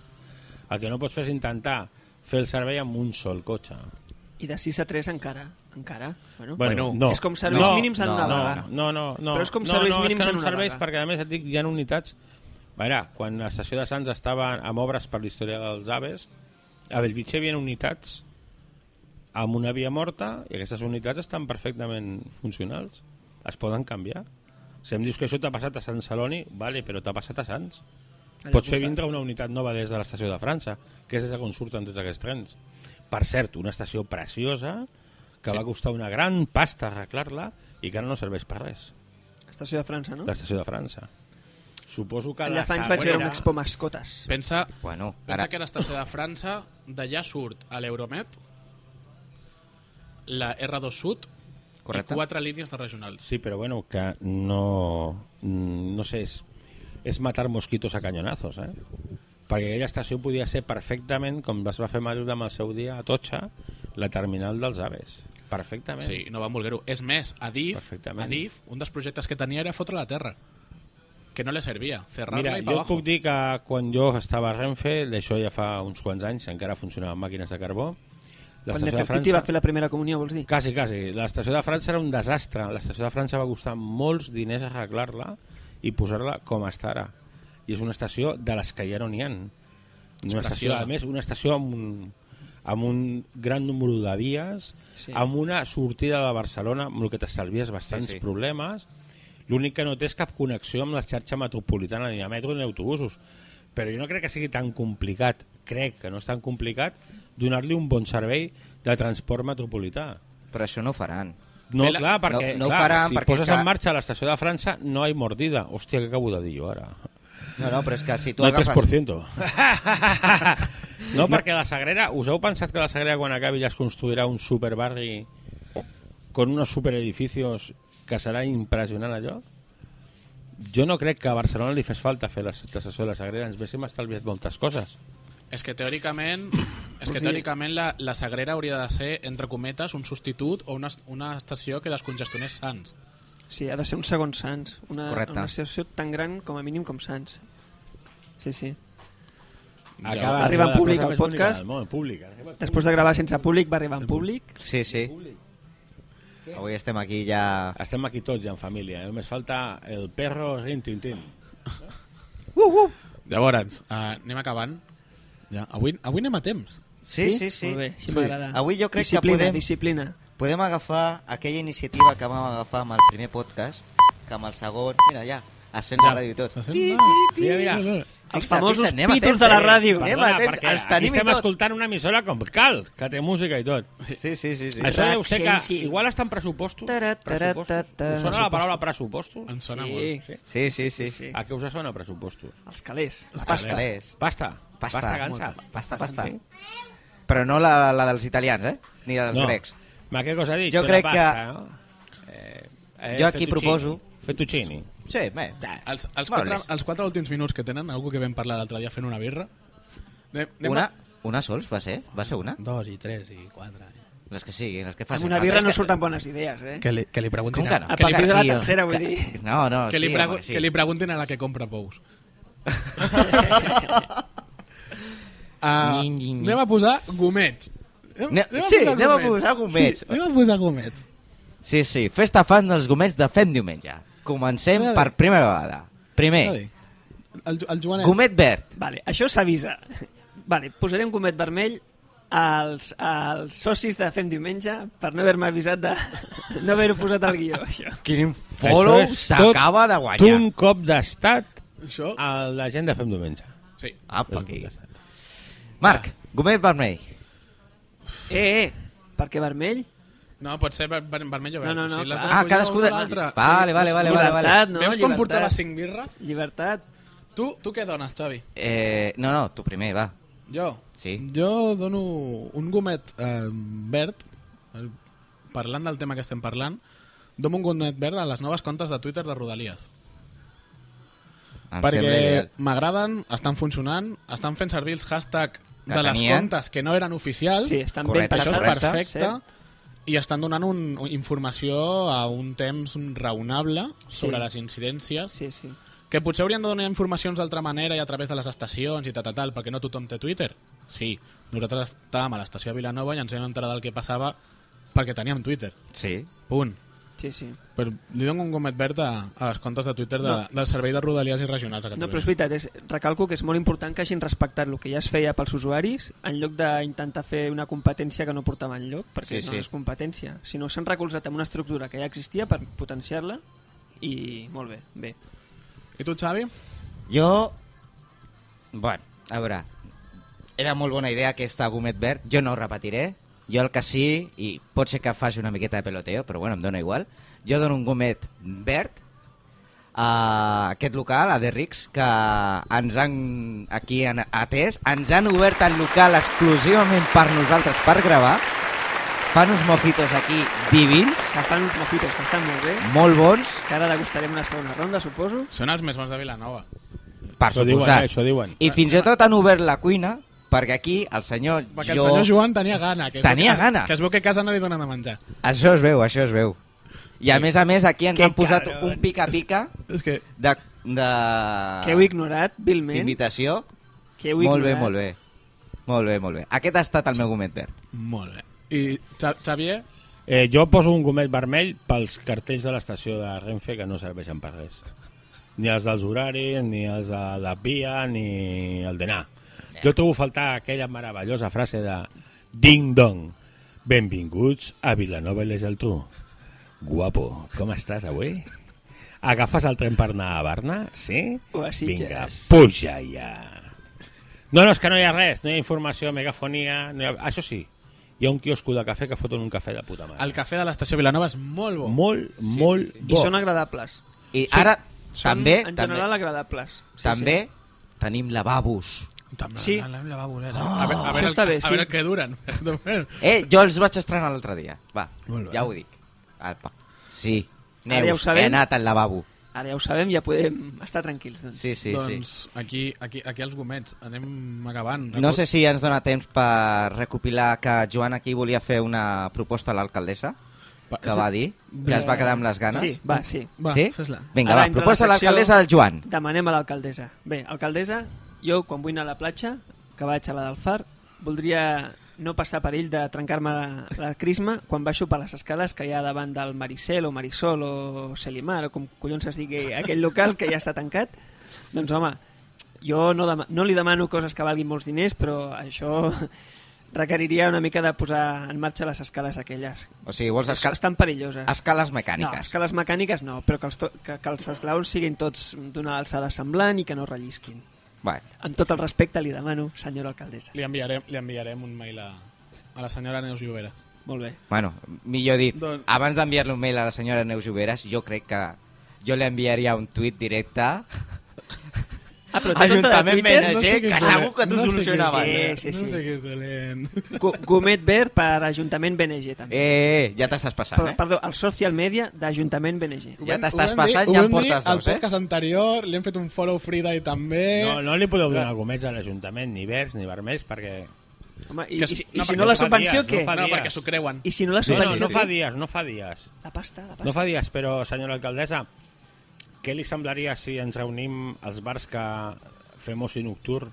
[SPEAKER 4] El que no pots fer és intentar fer el servei amb un sol cotxe.
[SPEAKER 3] I de 6 a 3 encara. Encara. Bueno,
[SPEAKER 4] Bueno,
[SPEAKER 2] Bueno,
[SPEAKER 4] no.
[SPEAKER 3] és com serveis mínims en
[SPEAKER 4] no,
[SPEAKER 3] una
[SPEAKER 4] no,
[SPEAKER 3] vaga.
[SPEAKER 4] No, no, no.
[SPEAKER 3] Però és com
[SPEAKER 4] no,
[SPEAKER 3] serveis
[SPEAKER 4] no,
[SPEAKER 3] mínims
[SPEAKER 4] és que
[SPEAKER 3] en
[SPEAKER 4] no
[SPEAKER 3] una
[SPEAKER 4] serveis,
[SPEAKER 3] vaga.
[SPEAKER 4] perquè a més et dic, hi ha unitats... A veure, quan l'estació de Sants estava amb obres per l'història dels aves, a Belvitge hi havia unitats amb una via morta i aquestes unitats estan perfectament funcionals. Es poden canviar. Si em dius que això t'ha passat a Sant Celoni, vale, però t'ha passat a Sants.
[SPEAKER 3] Allà
[SPEAKER 4] Pots fer
[SPEAKER 3] costat.
[SPEAKER 4] vindre una unitat nova des de l'estació de França, que és des de on surten tots aquests trens. Per cert, una estació preciosa que sí. va costar una gran pasta arreglar-la i que ara no serveix per res,
[SPEAKER 3] Estació de França, no?
[SPEAKER 4] l'estació de França. Suposo que...
[SPEAKER 3] Ah. Allà
[SPEAKER 4] la
[SPEAKER 3] fa anys vaig
[SPEAKER 4] Sagrera-
[SPEAKER 3] veure un expo mascotes.
[SPEAKER 1] Pensa,
[SPEAKER 2] Bueno,
[SPEAKER 1] pensa
[SPEAKER 2] ara...
[SPEAKER 1] que a l'estació de França d'allà surt a l'Euromet la R2 Sud
[SPEAKER 2] Correcte.
[SPEAKER 1] i quatre línies de regionals.
[SPEAKER 4] Sí, però bueno, que no... mm, No sé, és, és matar mosquitos a cañonazos, eh? Perquè aquella estació podia ser perfectament, com es va fer a Madrid amb el seu dia, a Totxa, la terminal dels Aves. Perfectament.
[SPEAKER 1] Sí, no van voler-ho. És més, Adif,
[SPEAKER 4] Perfectament.
[SPEAKER 1] Adif, un dels projectes que tenia era fotre la terra. Que no li servia. Cerrar-la
[SPEAKER 4] Mira,
[SPEAKER 1] i
[SPEAKER 4] jo
[SPEAKER 1] pa
[SPEAKER 4] et puc
[SPEAKER 1] abajo.
[SPEAKER 4] dir que quan jo estava a Renfe, d'això ja fa uns quants anys, encara funcionaven màquines de carbó,
[SPEAKER 3] Quan
[SPEAKER 4] l'estació de
[SPEAKER 3] Nefertiti va
[SPEAKER 4] França...
[SPEAKER 3] fer la primera comunió, vols dir?
[SPEAKER 4] Quasi, quasi. L'estació de França era un desastre. L'estació de França va costar molts diners arreglar-la i posar-la com està ara. I és una estació de les que ja no n'hi ha. Una estació,
[SPEAKER 1] preciosa.
[SPEAKER 4] a més, una estació amb un, amb un gran número de vies,
[SPEAKER 3] Sí.
[SPEAKER 4] sí. amb una sortida de Barcelona, amb el que t'estalvies bastants
[SPEAKER 2] Sí,
[SPEAKER 4] sí,
[SPEAKER 2] sí.
[SPEAKER 4] sí. problemes. L'únic que no té és cap connexió amb la xarxa metropolitana, ni de metro ni d'autobusos. Però jo no crec que sigui tan complicat, crec que no és tan complicat, donar-li un bon servei de transport metropolità.
[SPEAKER 2] Però això no ho faran.
[SPEAKER 4] No,
[SPEAKER 1] Té la-
[SPEAKER 4] clar, perquè,
[SPEAKER 2] No- no ho
[SPEAKER 4] clar,
[SPEAKER 2] faran
[SPEAKER 4] si
[SPEAKER 2] perquè
[SPEAKER 4] poses
[SPEAKER 2] és que-
[SPEAKER 4] en marxa l'estació de França no hi ha mordida. Hòstia, què acabo de dir jo ara?
[SPEAKER 2] No, no, però és que si tu
[SPEAKER 4] No hi ha
[SPEAKER 2] agafes...
[SPEAKER 4] 3%. no, perquè la Sagrera... Us heu pensat que la Sagrera quan acabi ja es construirà un superbarri con unos superedificios que serà impressionant allò? Jo no crec que a Barcelona li fes falta fer l'es- l'estació de la Sagrera. Ens véssim estalviat moltes coses.
[SPEAKER 1] És que teòricament, és
[SPEAKER 3] O
[SPEAKER 1] que
[SPEAKER 3] sigui-
[SPEAKER 1] teòricament la, la Sagrera hauria de ser, entre cometes, un substitut o una, una estació que descongestionés Sants.
[SPEAKER 3] Sí, ha de ser un segon Sants. Una,
[SPEAKER 2] Correcte.
[SPEAKER 3] una estació tan gran com a mínim com Sants. Sí, sí.
[SPEAKER 4] Acaba
[SPEAKER 3] Arriba en
[SPEAKER 4] la cosa
[SPEAKER 3] públic
[SPEAKER 4] més
[SPEAKER 3] el podcast.
[SPEAKER 4] única del món, en públic. Arriba en
[SPEAKER 3] Després de gravar sense públic, va arribar en públic.
[SPEAKER 2] Sí, sí. Avui estem aquí ja...
[SPEAKER 4] Estem aquí tots ja en família, eh? només falta el perro rintintín. Uhuh!
[SPEAKER 3] Uh, uh!
[SPEAKER 1] Llavors, uh, anem acabant. Ja, avui, avui anem a temps.
[SPEAKER 2] Sí, sí, sí.
[SPEAKER 3] Molt bé, així
[SPEAKER 1] Sí.
[SPEAKER 3] m'agrada.
[SPEAKER 2] Avui jo crec que
[SPEAKER 3] disciplina,
[SPEAKER 2] podem-
[SPEAKER 3] Disciplina,
[SPEAKER 2] Podem agafar aquella iniciativa que vam agafar amb el primer podcast, que amb el segon... Mira, ja, ascens la ràdio i tot.
[SPEAKER 1] S'assent?
[SPEAKER 2] Ti,
[SPEAKER 1] Ah,
[SPEAKER 2] ti, ti.
[SPEAKER 4] Mira, mira.
[SPEAKER 3] Els
[SPEAKER 2] Fixa,
[SPEAKER 3] famosos
[SPEAKER 2] fixa, anem a
[SPEAKER 3] pitos
[SPEAKER 2] temps,
[SPEAKER 3] de la
[SPEAKER 2] eh?
[SPEAKER 3] ràdio.
[SPEAKER 2] Anem a
[SPEAKER 4] Perdona,
[SPEAKER 2] temps,
[SPEAKER 4] perquè
[SPEAKER 2] els
[SPEAKER 4] aquí
[SPEAKER 2] tenim i
[SPEAKER 4] estem
[SPEAKER 2] tot.
[SPEAKER 4] escoltant una emissora com cal, que té música i tot.
[SPEAKER 2] Sí, sí, sí. sí.
[SPEAKER 4] Això deu ser que
[SPEAKER 3] Accent, sí.
[SPEAKER 4] igual està en pressupostos.
[SPEAKER 3] Tarat, tarat,
[SPEAKER 4] pressupostos.
[SPEAKER 3] tarat.
[SPEAKER 4] Us sona la paraula pressupostos?
[SPEAKER 1] Ens sona
[SPEAKER 3] Sí.
[SPEAKER 1] molt.
[SPEAKER 4] Sí.
[SPEAKER 2] Sí, sí, sí. sí.
[SPEAKER 4] A què us sona pressupostos?
[SPEAKER 3] els calés.
[SPEAKER 2] La pasta. Calés.
[SPEAKER 4] Pasta.
[SPEAKER 2] Pasta.
[SPEAKER 4] Pasta cansa.
[SPEAKER 2] Pasta, pasta. Però no la, la dels italians, eh? Ni la dels
[SPEAKER 4] No.
[SPEAKER 2] grecs.
[SPEAKER 4] Ma, què cosa has dit?
[SPEAKER 2] Jo
[SPEAKER 4] Una
[SPEAKER 2] crec
[SPEAKER 4] pasta, no? Eh, eh,
[SPEAKER 2] jo aquí
[SPEAKER 4] fettuccini.
[SPEAKER 2] proposo-
[SPEAKER 4] Fettuccini.
[SPEAKER 2] Sí, bé.
[SPEAKER 1] Els, els,
[SPEAKER 2] Bueno,
[SPEAKER 1] quatre,
[SPEAKER 2] les-
[SPEAKER 1] els quatre últims minuts que tenen, algú que vam parlar l'altre dia fent una birra, anem, anem
[SPEAKER 2] Una,
[SPEAKER 1] a-
[SPEAKER 2] una sols va ser? Va ser una?
[SPEAKER 6] Dos i tres i quatre.
[SPEAKER 2] Les que siguin, les que facin.
[SPEAKER 3] Amb una
[SPEAKER 2] falta.
[SPEAKER 3] birra
[SPEAKER 2] És
[SPEAKER 3] no
[SPEAKER 2] que-
[SPEAKER 3] surten bones idees, eh?
[SPEAKER 6] Que li, que li preguntin...
[SPEAKER 2] Com que no?
[SPEAKER 3] A partir
[SPEAKER 2] Que
[SPEAKER 3] de la
[SPEAKER 2] sí, home.
[SPEAKER 3] tercera, vull
[SPEAKER 2] Que-
[SPEAKER 3] dir.
[SPEAKER 2] No, no,
[SPEAKER 1] que,
[SPEAKER 2] Ah, sí,
[SPEAKER 1] li pregu-
[SPEAKER 2] home, que sí.
[SPEAKER 1] que li preguntin a la que compra pous. Ah,
[SPEAKER 6] Nying, nying, nying.
[SPEAKER 1] anem a posar gomets.
[SPEAKER 2] Ne- sí, anem a posar gomets.
[SPEAKER 1] Sí, anem a posar gomets.
[SPEAKER 2] Sí, sí, festa fan dels gomets de Fem Diumenge. Comencem
[SPEAKER 1] Vale.
[SPEAKER 2] per primera vegada.
[SPEAKER 1] Està
[SPEAKER 2] Primer,
[SPEAKER 1] bé. El, Ju- el Joanet.
[SPEAKER 2] Eh. gomet verd.
[SPEAKER 3] Vale, això s'avisa. Vale, posaré un gomet vermell als, als socis de Fem Diumenge per no haver-me avisat de... no haver-ho posat al guió, això.
[SPEAKER 2] Quin follow
[SPEAKER 4] Això és
[SPEAKER 2] s'acaba de guanyar.
[SPEAKER 4] Un cop d'estat
[SPEAKER 1] Això?
[SPEAKER 2] Ah.
[SPEAKER 4] a la gent de Fem Diumenge.
[SPEAKER 1] Sí.
[SPEAKER 2] Apa, aquí. Marc, gomet vermell.
[SPEAKER 3] Eh, eh, per què vermell?
[SPEAKER 1] No, pot ser ver- ver- vermell o verd.
[SPEAKER 3] No, no,
[SPEAKER 1] o sigui,
[SPEAKER 3] no,
[SPEAKER 1] les
[SPEAKER 3] clar.
[SPEAKER 1] has
[SPEAKER 2] Ah,
[SPEAKER 1] d'escollir
[SPEAKER 2] cadascú... De...
[SPEAKER 1] una o l'altra.
[SPEAKER 2] Vale, vale, vale, vale, vale.
[SPEAKER 3] Llibertat, no?
[SPEAKER 1] doncs, Veus com
[SPEAKER 3] Llibertat.
[SPEAKER 1] portava cinc birres?
[SPEAKER 3] Llibertat.
[SPEAKER 1] Tu, tu què dones, Xavi?
[SPEAKER 2] Eh, no, no, tu primer, va.
[SPEAKER 1] Jo?
[SPEAKER 2] Sí.
[SPEAKER 1] Jo dono un gomet eh, verd, el- parlant del tema que estem parlant, dono un gomet verd a les noves comptes de Twitter de Rodalies.
[SPEAKER 2] Em sembla
[SPEAKER 1] perquè
[SPEAKER 2] ideal.
[SPEAKER 1] m'agraden, estan funcionant, estan fent servir els hashtag
[SPEAKER 2] Que
[SPEAKER 1] de les
[SPEAKER 2] tenien.
[SPEAKER 1] comptes que no eren oficials.
[SPEAKER 3] Sí, estan
[SPEAKER 2] Correcte,
[SPEAKER 3] ben eh?
[SPEAKER 1] Això és
[SPEAKER 3] pensats,
[SPEAKER 1] perfecte.
[SPEAKER 3] cert.
[SPEAKER 1] I estan donant un, un- informació a un temps raonable sobre
[SPEAKER 3] Sí.
[SPEAKER 1] les incidències.
[SPEAKER 3] Sí, sí.
[SPEAKER 1] Que potser haurien de donar informacions d'altra manera i a través de les estacions i tal, tal, tal, perquè no tothom té Twitter. Sí, nosaltres estàvem a l'estació de Vilanova i ens vam enterar del que passava perquè teníem Twitter.
[SPEAKER 2] Sí.
[SPEAKER 1] Punt.
[SPEAKER 3] Sí, sí.
[SPEAKER 1] Però li dono un gomet verd a, a les comptes de Twitter de,
[SPEAKER 3] No.
[SPEAKER 1] del Servei de Rodalies i Regionals a
[SPEAKER 3] No, però
[SPEAKER 1] Catalunya.
[SPEAKER 3] és veritat, és, recalco que és molt important que hagin respectat el que ja es feia pels usuaris en lloc d'intentar fer una competència que no portava enlloc, perquè
[SPEAKER 2] Sí,
[SPEAKER 3] no
[SPEAKER 2] sí.
[SPEAKER 3] és competència, sinó s'han recolzat en una estructura que ja existia per potenciar-la i molt bé, bé.
[SPEAKER 1] I tu, Xavi?
[SPEAKER 2] Jo... Bueno, a veure, era molt bona idea aquesta gomet verd, jo no ho repetiré, jo el que sí, i pot ser que faci una miqueta de peloteo, però bueno, em dóna igual, jo dono un gomet verd a aquest local, a The Rix, que ens han aquí han atès, ens han obert el local exclusivament per nosaltres per gravar, fan uns mojitos aquí divins,
[SPEAKER 3] Que fan uns mojitos que estan molt bé,
[SPEAKER 2] molt bons,
[SPEAKER 3] que ara degustarem una segona ronda, suposo.
[SPEAKER 1] Són els més bons de Vilanova.
[SPEAKER 2] per
[SPEAKER 4] Això diuen, eh?
[SPEAKER 2] suposat.
[SPEAKER 4] Això diuen.
[SPEAKER 2] I fins i tot han obert la cuina perquè aquí el senyor,
[SPEAKER 1] Perquè el senyor Joan tenia gana. Que es veu
[SPEAKER 2] Tenia
[SPEAKER 1] que-
[SPEAKER 2] gana.
[SPEAKER 1] Que es veu que a casa no li donen de menjar.
[SPEAKER 2] Això es veu, això es veu. I a més a més aquí ens
[SPEAKER 3] Que
[SPEAKER 2] han posat
[SPEAKER 3] cabrón.
[SPEAKER 4] eh?
[SPEAKER 2] un pica-pica
[SPEAKER 1] És que
[SPEAKER 2] de, de...
[SPEAKER 3] Que heu ignorat, vilment.
[SPEAKER 2] Invitació.
[SPEAKER 3] Que heu
[SPEAKER 2] Ah. Molt bé,
[SPEAKER 3] ignorat.
[SPEAKER 2] molt bé. Molt bé, molt bé. Aquest ha estat el meu gomet verd.
[SPEAKER 1] molt bé. I Xa- Xavier,
[SPEAKER 4] Eh, jo poso un gomet vermell pels cartells de l'estació de Renfe que no serveixen per res. Ni els dels horaris, ni els de la via, ni el d'anar. Jo trobo a faltar aquella meravellosa frase de Ding Dong. Benvinguts a Vilanova i les Geltrú. Guapo, com estàs avui? Agafes el tren per anar a Barna, sí?
[SPEAKER 3] O a Sitges.
[SPEAKER 4] Vinga, puja ja. No, no, és que no hi ha res, no hi ha informació, megafonia... No hi ha... Això sí, hi ha un quiosco de cafè que foten un cafè de puta mare.
[SPEAKER 1] el cafè de l'estació Vilanova és molt bo.
[SPEAKER 4] Molt, molt
[SPEAKER 3] I
[SPEAKER 4] bo.
[SPEAKER 3] són agradables.
[SPEAKER 2] I ara
[SPEAKER 3] Són,
[SPEAKER 2] també
[SPEAKER 3] en
[SPEAKER 2] també,
[SPEAKER 3] general, agradables. Sí,
[SPEAKER 2] també tenim lavabos.
[SPEAKER 1] També,
[SPEAKER 3] Sí.
[SPEAKER 1] la- la- la va voler, la- a, veure, a, veure,
[SPEAKER 3] Això està
[SPEAKER 1] el-
[SPEAKER 3] bé,
[SPEAKER 1] a
[SPEAKER 3] sí.
[SPEAKER 1] veure el que duren.
[SPEAKER 2] Eh, jo els vaig estrenar l'altre dia. Va,
[SPEAKER 1] Molt bé.
[SPEAKER 2] ja ho dic. Alpa. Sí.
[SPEAKER 3] Ara ja ho
[SPEAKER 2] Neus,
[SPEAKER 3] sabem.
[SPEAKER 2] he anat al lavabo.
[SPEAKER 3] Sí. Ara ja ho sabem, ja podem estar tranquils. Doncs.
[SPEAKER 2] Sí, sí,
[SPEAKER 1] doncs
[SPEAKER 2] sí.
[SPEAKER 1] aquí, aquí, aquí els gomets. Anem acabant.
[SPEAKER 2] No sé si ens dona temps per recopilar que Joan aquí volia fer una proposta a l'alcaldessa,
[SPEAKER 1] Va,
[SPEAKER 2] que va dir, que es va quedar amb les ganes.
[SPEAKER 3] Sí, va, sí.
[SPEAKER 1] Va,
[SPEAKER 2] sí?
[SPEAKER 1] fes-la.
[SPEAKER 2] Vinga,
[SPEAKER 3] Ara
[SPEAKER 2] va,
[SPEAKER 3] entra
[SPEAKER 2] proposta a
[SPEAKER 3] la secció-
[SPEAKER 2] l'alcaldessa del Joan.
[SPEAKER 3] Demanem a l'alcaldessa. Bé, alcaldessa, jo quan vull anar a la platja, que vaig a la del Far, voldria no passar perill de trencar-me la, la crisma quan baixo per les escales que hi ha davant del Maricel o Marisol o Selimar o com collons es digui aquell local que ja està tancat. Doncs home, jo no, dema no li demano coses que valguin molts diners, però això requeriria una mica de posar en marxa les escales aquelles.
[SPEAKER 2] O sigui, vols escal...
[SPEAKER 3] Estan perilloses.
[SPEAKER 2] escales
[SPEAKER 3] No,
[SPEAKER 2] mecàniques.
[SPEAKER 3] escales mecàniques no, però que els, to- que, que els esglaons siguin tots d'una alçada semblant i que no rellisquin.
[SPEAKER 2] Vale.
[SPEAKER 3] Amb tot el respecte li demano, senyora alcaldessa.
[SPEAKER 1] Li enviarem, li enviarem un mail a, a la senyora Neus Llobera.
[SPEAKER 3] Molt bé.
[SPEAKER 2] Bueno, millor dit,
[SPEAKER 1] Doncs-
[SPEAKER 2] abans d'enviar-li un mail a la senyora Neus Lloberes, jo crec que jo li enviaria un tuit directe a
[SPEAKER 3] Ah, però té tota de
[SPEAKER 2] Ajuntament
[SPEAKER 3] Twitter?
[SPEAKER 1] No
[SPEAKER 2] Benager,
[SPEAKER 1] sé què
[SPEAKER 2] que
[SPEAKER 1] és
[SPEAKER 2] segur
[SPEAKER 1] dolent.
[SPEAKER 2] que
[SPEAKER 1] No
[SPEAKER 2] t'ho
[SPEAKER 1] sé què és
[SPEAKER 2] solucionava.
[SPEAKER 1] dolent.
[SPEAKER 2] Eh,
[SPEAKER 3] Sí, sí,
[SPEAKER 1] No
[SPEAKER 3] sí.
[SPEAKER 1] sé què és dolent.
[SPEAKER 3] Gu- Gomet verd per Ajuntament BNG, també.
[SPEAKER 2] eh, ja t'estàs passant,
[SPEAKER 3] Però,
[SPEAKER 2] eh?
[SPEAKER 3] perdó, el social media d'Ajuntament BNG.
[SPEAKER 2] Ja
[SPEAKER 1] Ho vam-
[SPEAKER 2] t'estàs
[SPEAKER 1] ho vam
[SPEAKER 2] passant,
[SPEAKER 1] dir-
[SPEAKER 2] ja
[SPEAKER 1] ho
[SPEAKER 2] en
[SPEAKER 1] vam dir
[SPEAKER 2] portes
[SPEAKER 1] Al
[SPEAKER 2] dos, eh?
[SPEAKER 1] podcast anterior li hem fet un follow Friday també.
[SPEAKER 4] No, no li podeu donar gomets a l'Ajuntament, ni verds, ni vermells, perquè...
[SPEAKER 3] Home, i,
[SPEAKER 1] Que
[SPEAKER 3] i,
[SPEAKER 1] es-
[SPEAKER 3] i,
[SPEAKER 1] no,
[SPEAKER 3] si
[SPEAKER 1] perquè
[SPEAKER 3] no la
[SPEAKER 1] es fa
[SPEAKER 3] subvenció,
[SPEAKER 4] dies,
[SPEAKER 3] què?
[SPEAKER 4] no fa-
[SPEAKER 1] No,
[SPEAKER 4] dies.
[SPEAKER 1] perquè s'ho creuen.
[SPEAKER 3] I si no la
[SPEAKER 4] No, no,
[SPEAKER 3] subvenció?
[SPEAKER 4] no fa dies, no fa dies.
[SPEAKER 3] La pasta, la pasta.
[SPEAKER 4] No fa dies, però, senyora alcaldessa, què li semblaria si ens reunim als bars que fem oci nocturn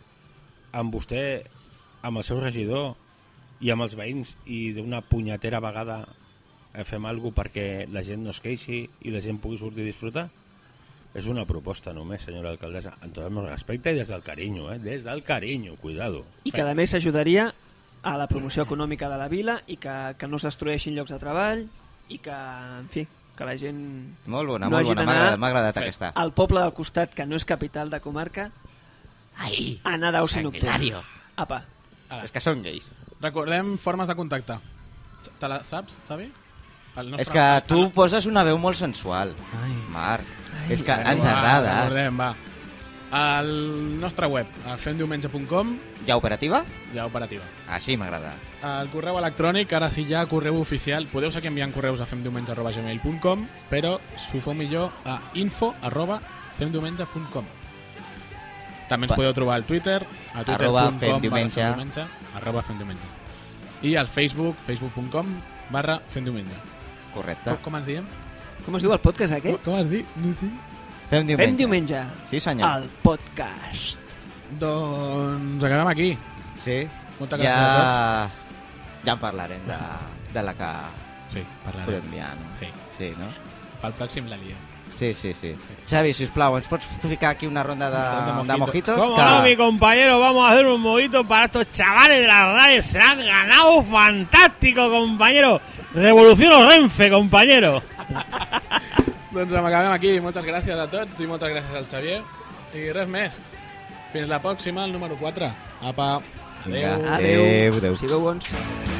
[SPEAKER 4] amb vostè, amb el seu regidor i amb els veïns i d'una punyetera vegada eh, fem alguna perquè la gent no es queixi i la gent pugui sortir a disfrutar? És una proposta només, senyora alcaldessa, amb tot el meu respecte i des del carinyo, eh? Des del carinyo, cuidado.
[SPEAKER 3] I que, a més, ajudaria a la promoció econòmica de la vila i que, que no es destrueixin llocs de treball i que, en fi, que la gent
[SPEAKER 2] Molt bona,
[SPEAKER 3] No
[SPEAKER 2] molt
[SPEAKER 3] hagi
[SPEAKER 2] bona, m'ha
[SPEAKER 3] d'anar-
[SPEAKER 2] agradat, m'ha agradat aquesta.
[SPEAKER 3] al poble del costat, que no és capital de comarca,
[SPEAKER 2] Ai,
[SPEAKER 3] anar d'oci nocturn. Apa,
[SPEAKER 2] És que són gais.
[SPEAKER 1] Recordem formes de contacte. Te la saps, Xavi? El nostre-
[SPEAKER 2] És que tu poses una veu molt sensual, Marc. És que ens
[SPEAKER 1] Va,
[SPEAKER 2] agrades.
[SPEAKER 1] Recordem, va. El nostre web, a femdiumenge.com,
[SPEAKER 2] Ja operativa?
[SPEAKER 1] ja operativa.
[SPEAKER 2] Així m'agrada.
[SPEAKER 1] El correu electrònic, ara sí ja correu oficial, podeu seguir enviant correus a femdiumenge.gmail.com, però si ho feu millor a info arroba femdiumenge.com. També ens
[SPEAKER 2] Bueno.
[SPEAKER 1] podeu trobar al Twitter, a
[SPEAKER 2] Arroba
[SPEAKER 1] twitter.com barra
[SPEAKER 2] femdiumenge.
[SPEAKER 1] femdiumenge, arroba femdiumenge. I al Facebook, facebook.com barra femdiumenge.
[SPEAKER 2] Correcte.
[SPEAKER 1] Com, com ens diem?
[SPEAKER 3] com es diu el podcast aquest?
[SPEAKER 1] Com has dit? No sé.
[SPEAKER 2] Fem diumenge.
[SPEAKER 3] Fem diumenge
[SPEAKER 2] Sí, senyor.
[SPEAKER 3] al podcast.
[SPEAKER 1] Doncs acabem aquí.
[SPEAKER 2] Sí.
[SPEAKER 1] Moltes gràcies a tots.
[SPEAKER 2] Ja... Ja en parlarem de, de la que
[SPEAKER 1] Sí, parlarem.
[SPEAKER 2] podem enviar, no?
[SPEAKER 1] Sí.
[SPEAKER 2] Sí, no?
[SPEAKER 1] Pel pròxim la liem.
[SPEAKER 2] Sí, sí, sí. Xavi, sisplau, ens pots ficar aquí una ronda de,
[SPEAKER 1] Una ronda de
[SPEAKER 2] de
[SPEAKER 1] mojitos.
[SPEAKER 2] mojitos?
[SPEAKER 5] Como no, mi compañero, vamos a hacer un movito para estos chavales de la radio. Se han ganado fantástico, compañero. Revolución Renfe, compañero.
[SPEAKER 1] Doncs em acabem aquí. Moltes gràcies a tots i moltes gràcies al Xavier. I res més. Fins la pròxima, el número 4. Apa. Adéu.
[SPEAKER 2] Vinga.
[SPEAKER 3] Adeu.
[SPEAKER 2] Adeu, adeu.
[SPEAKER 3] Sigueu bons.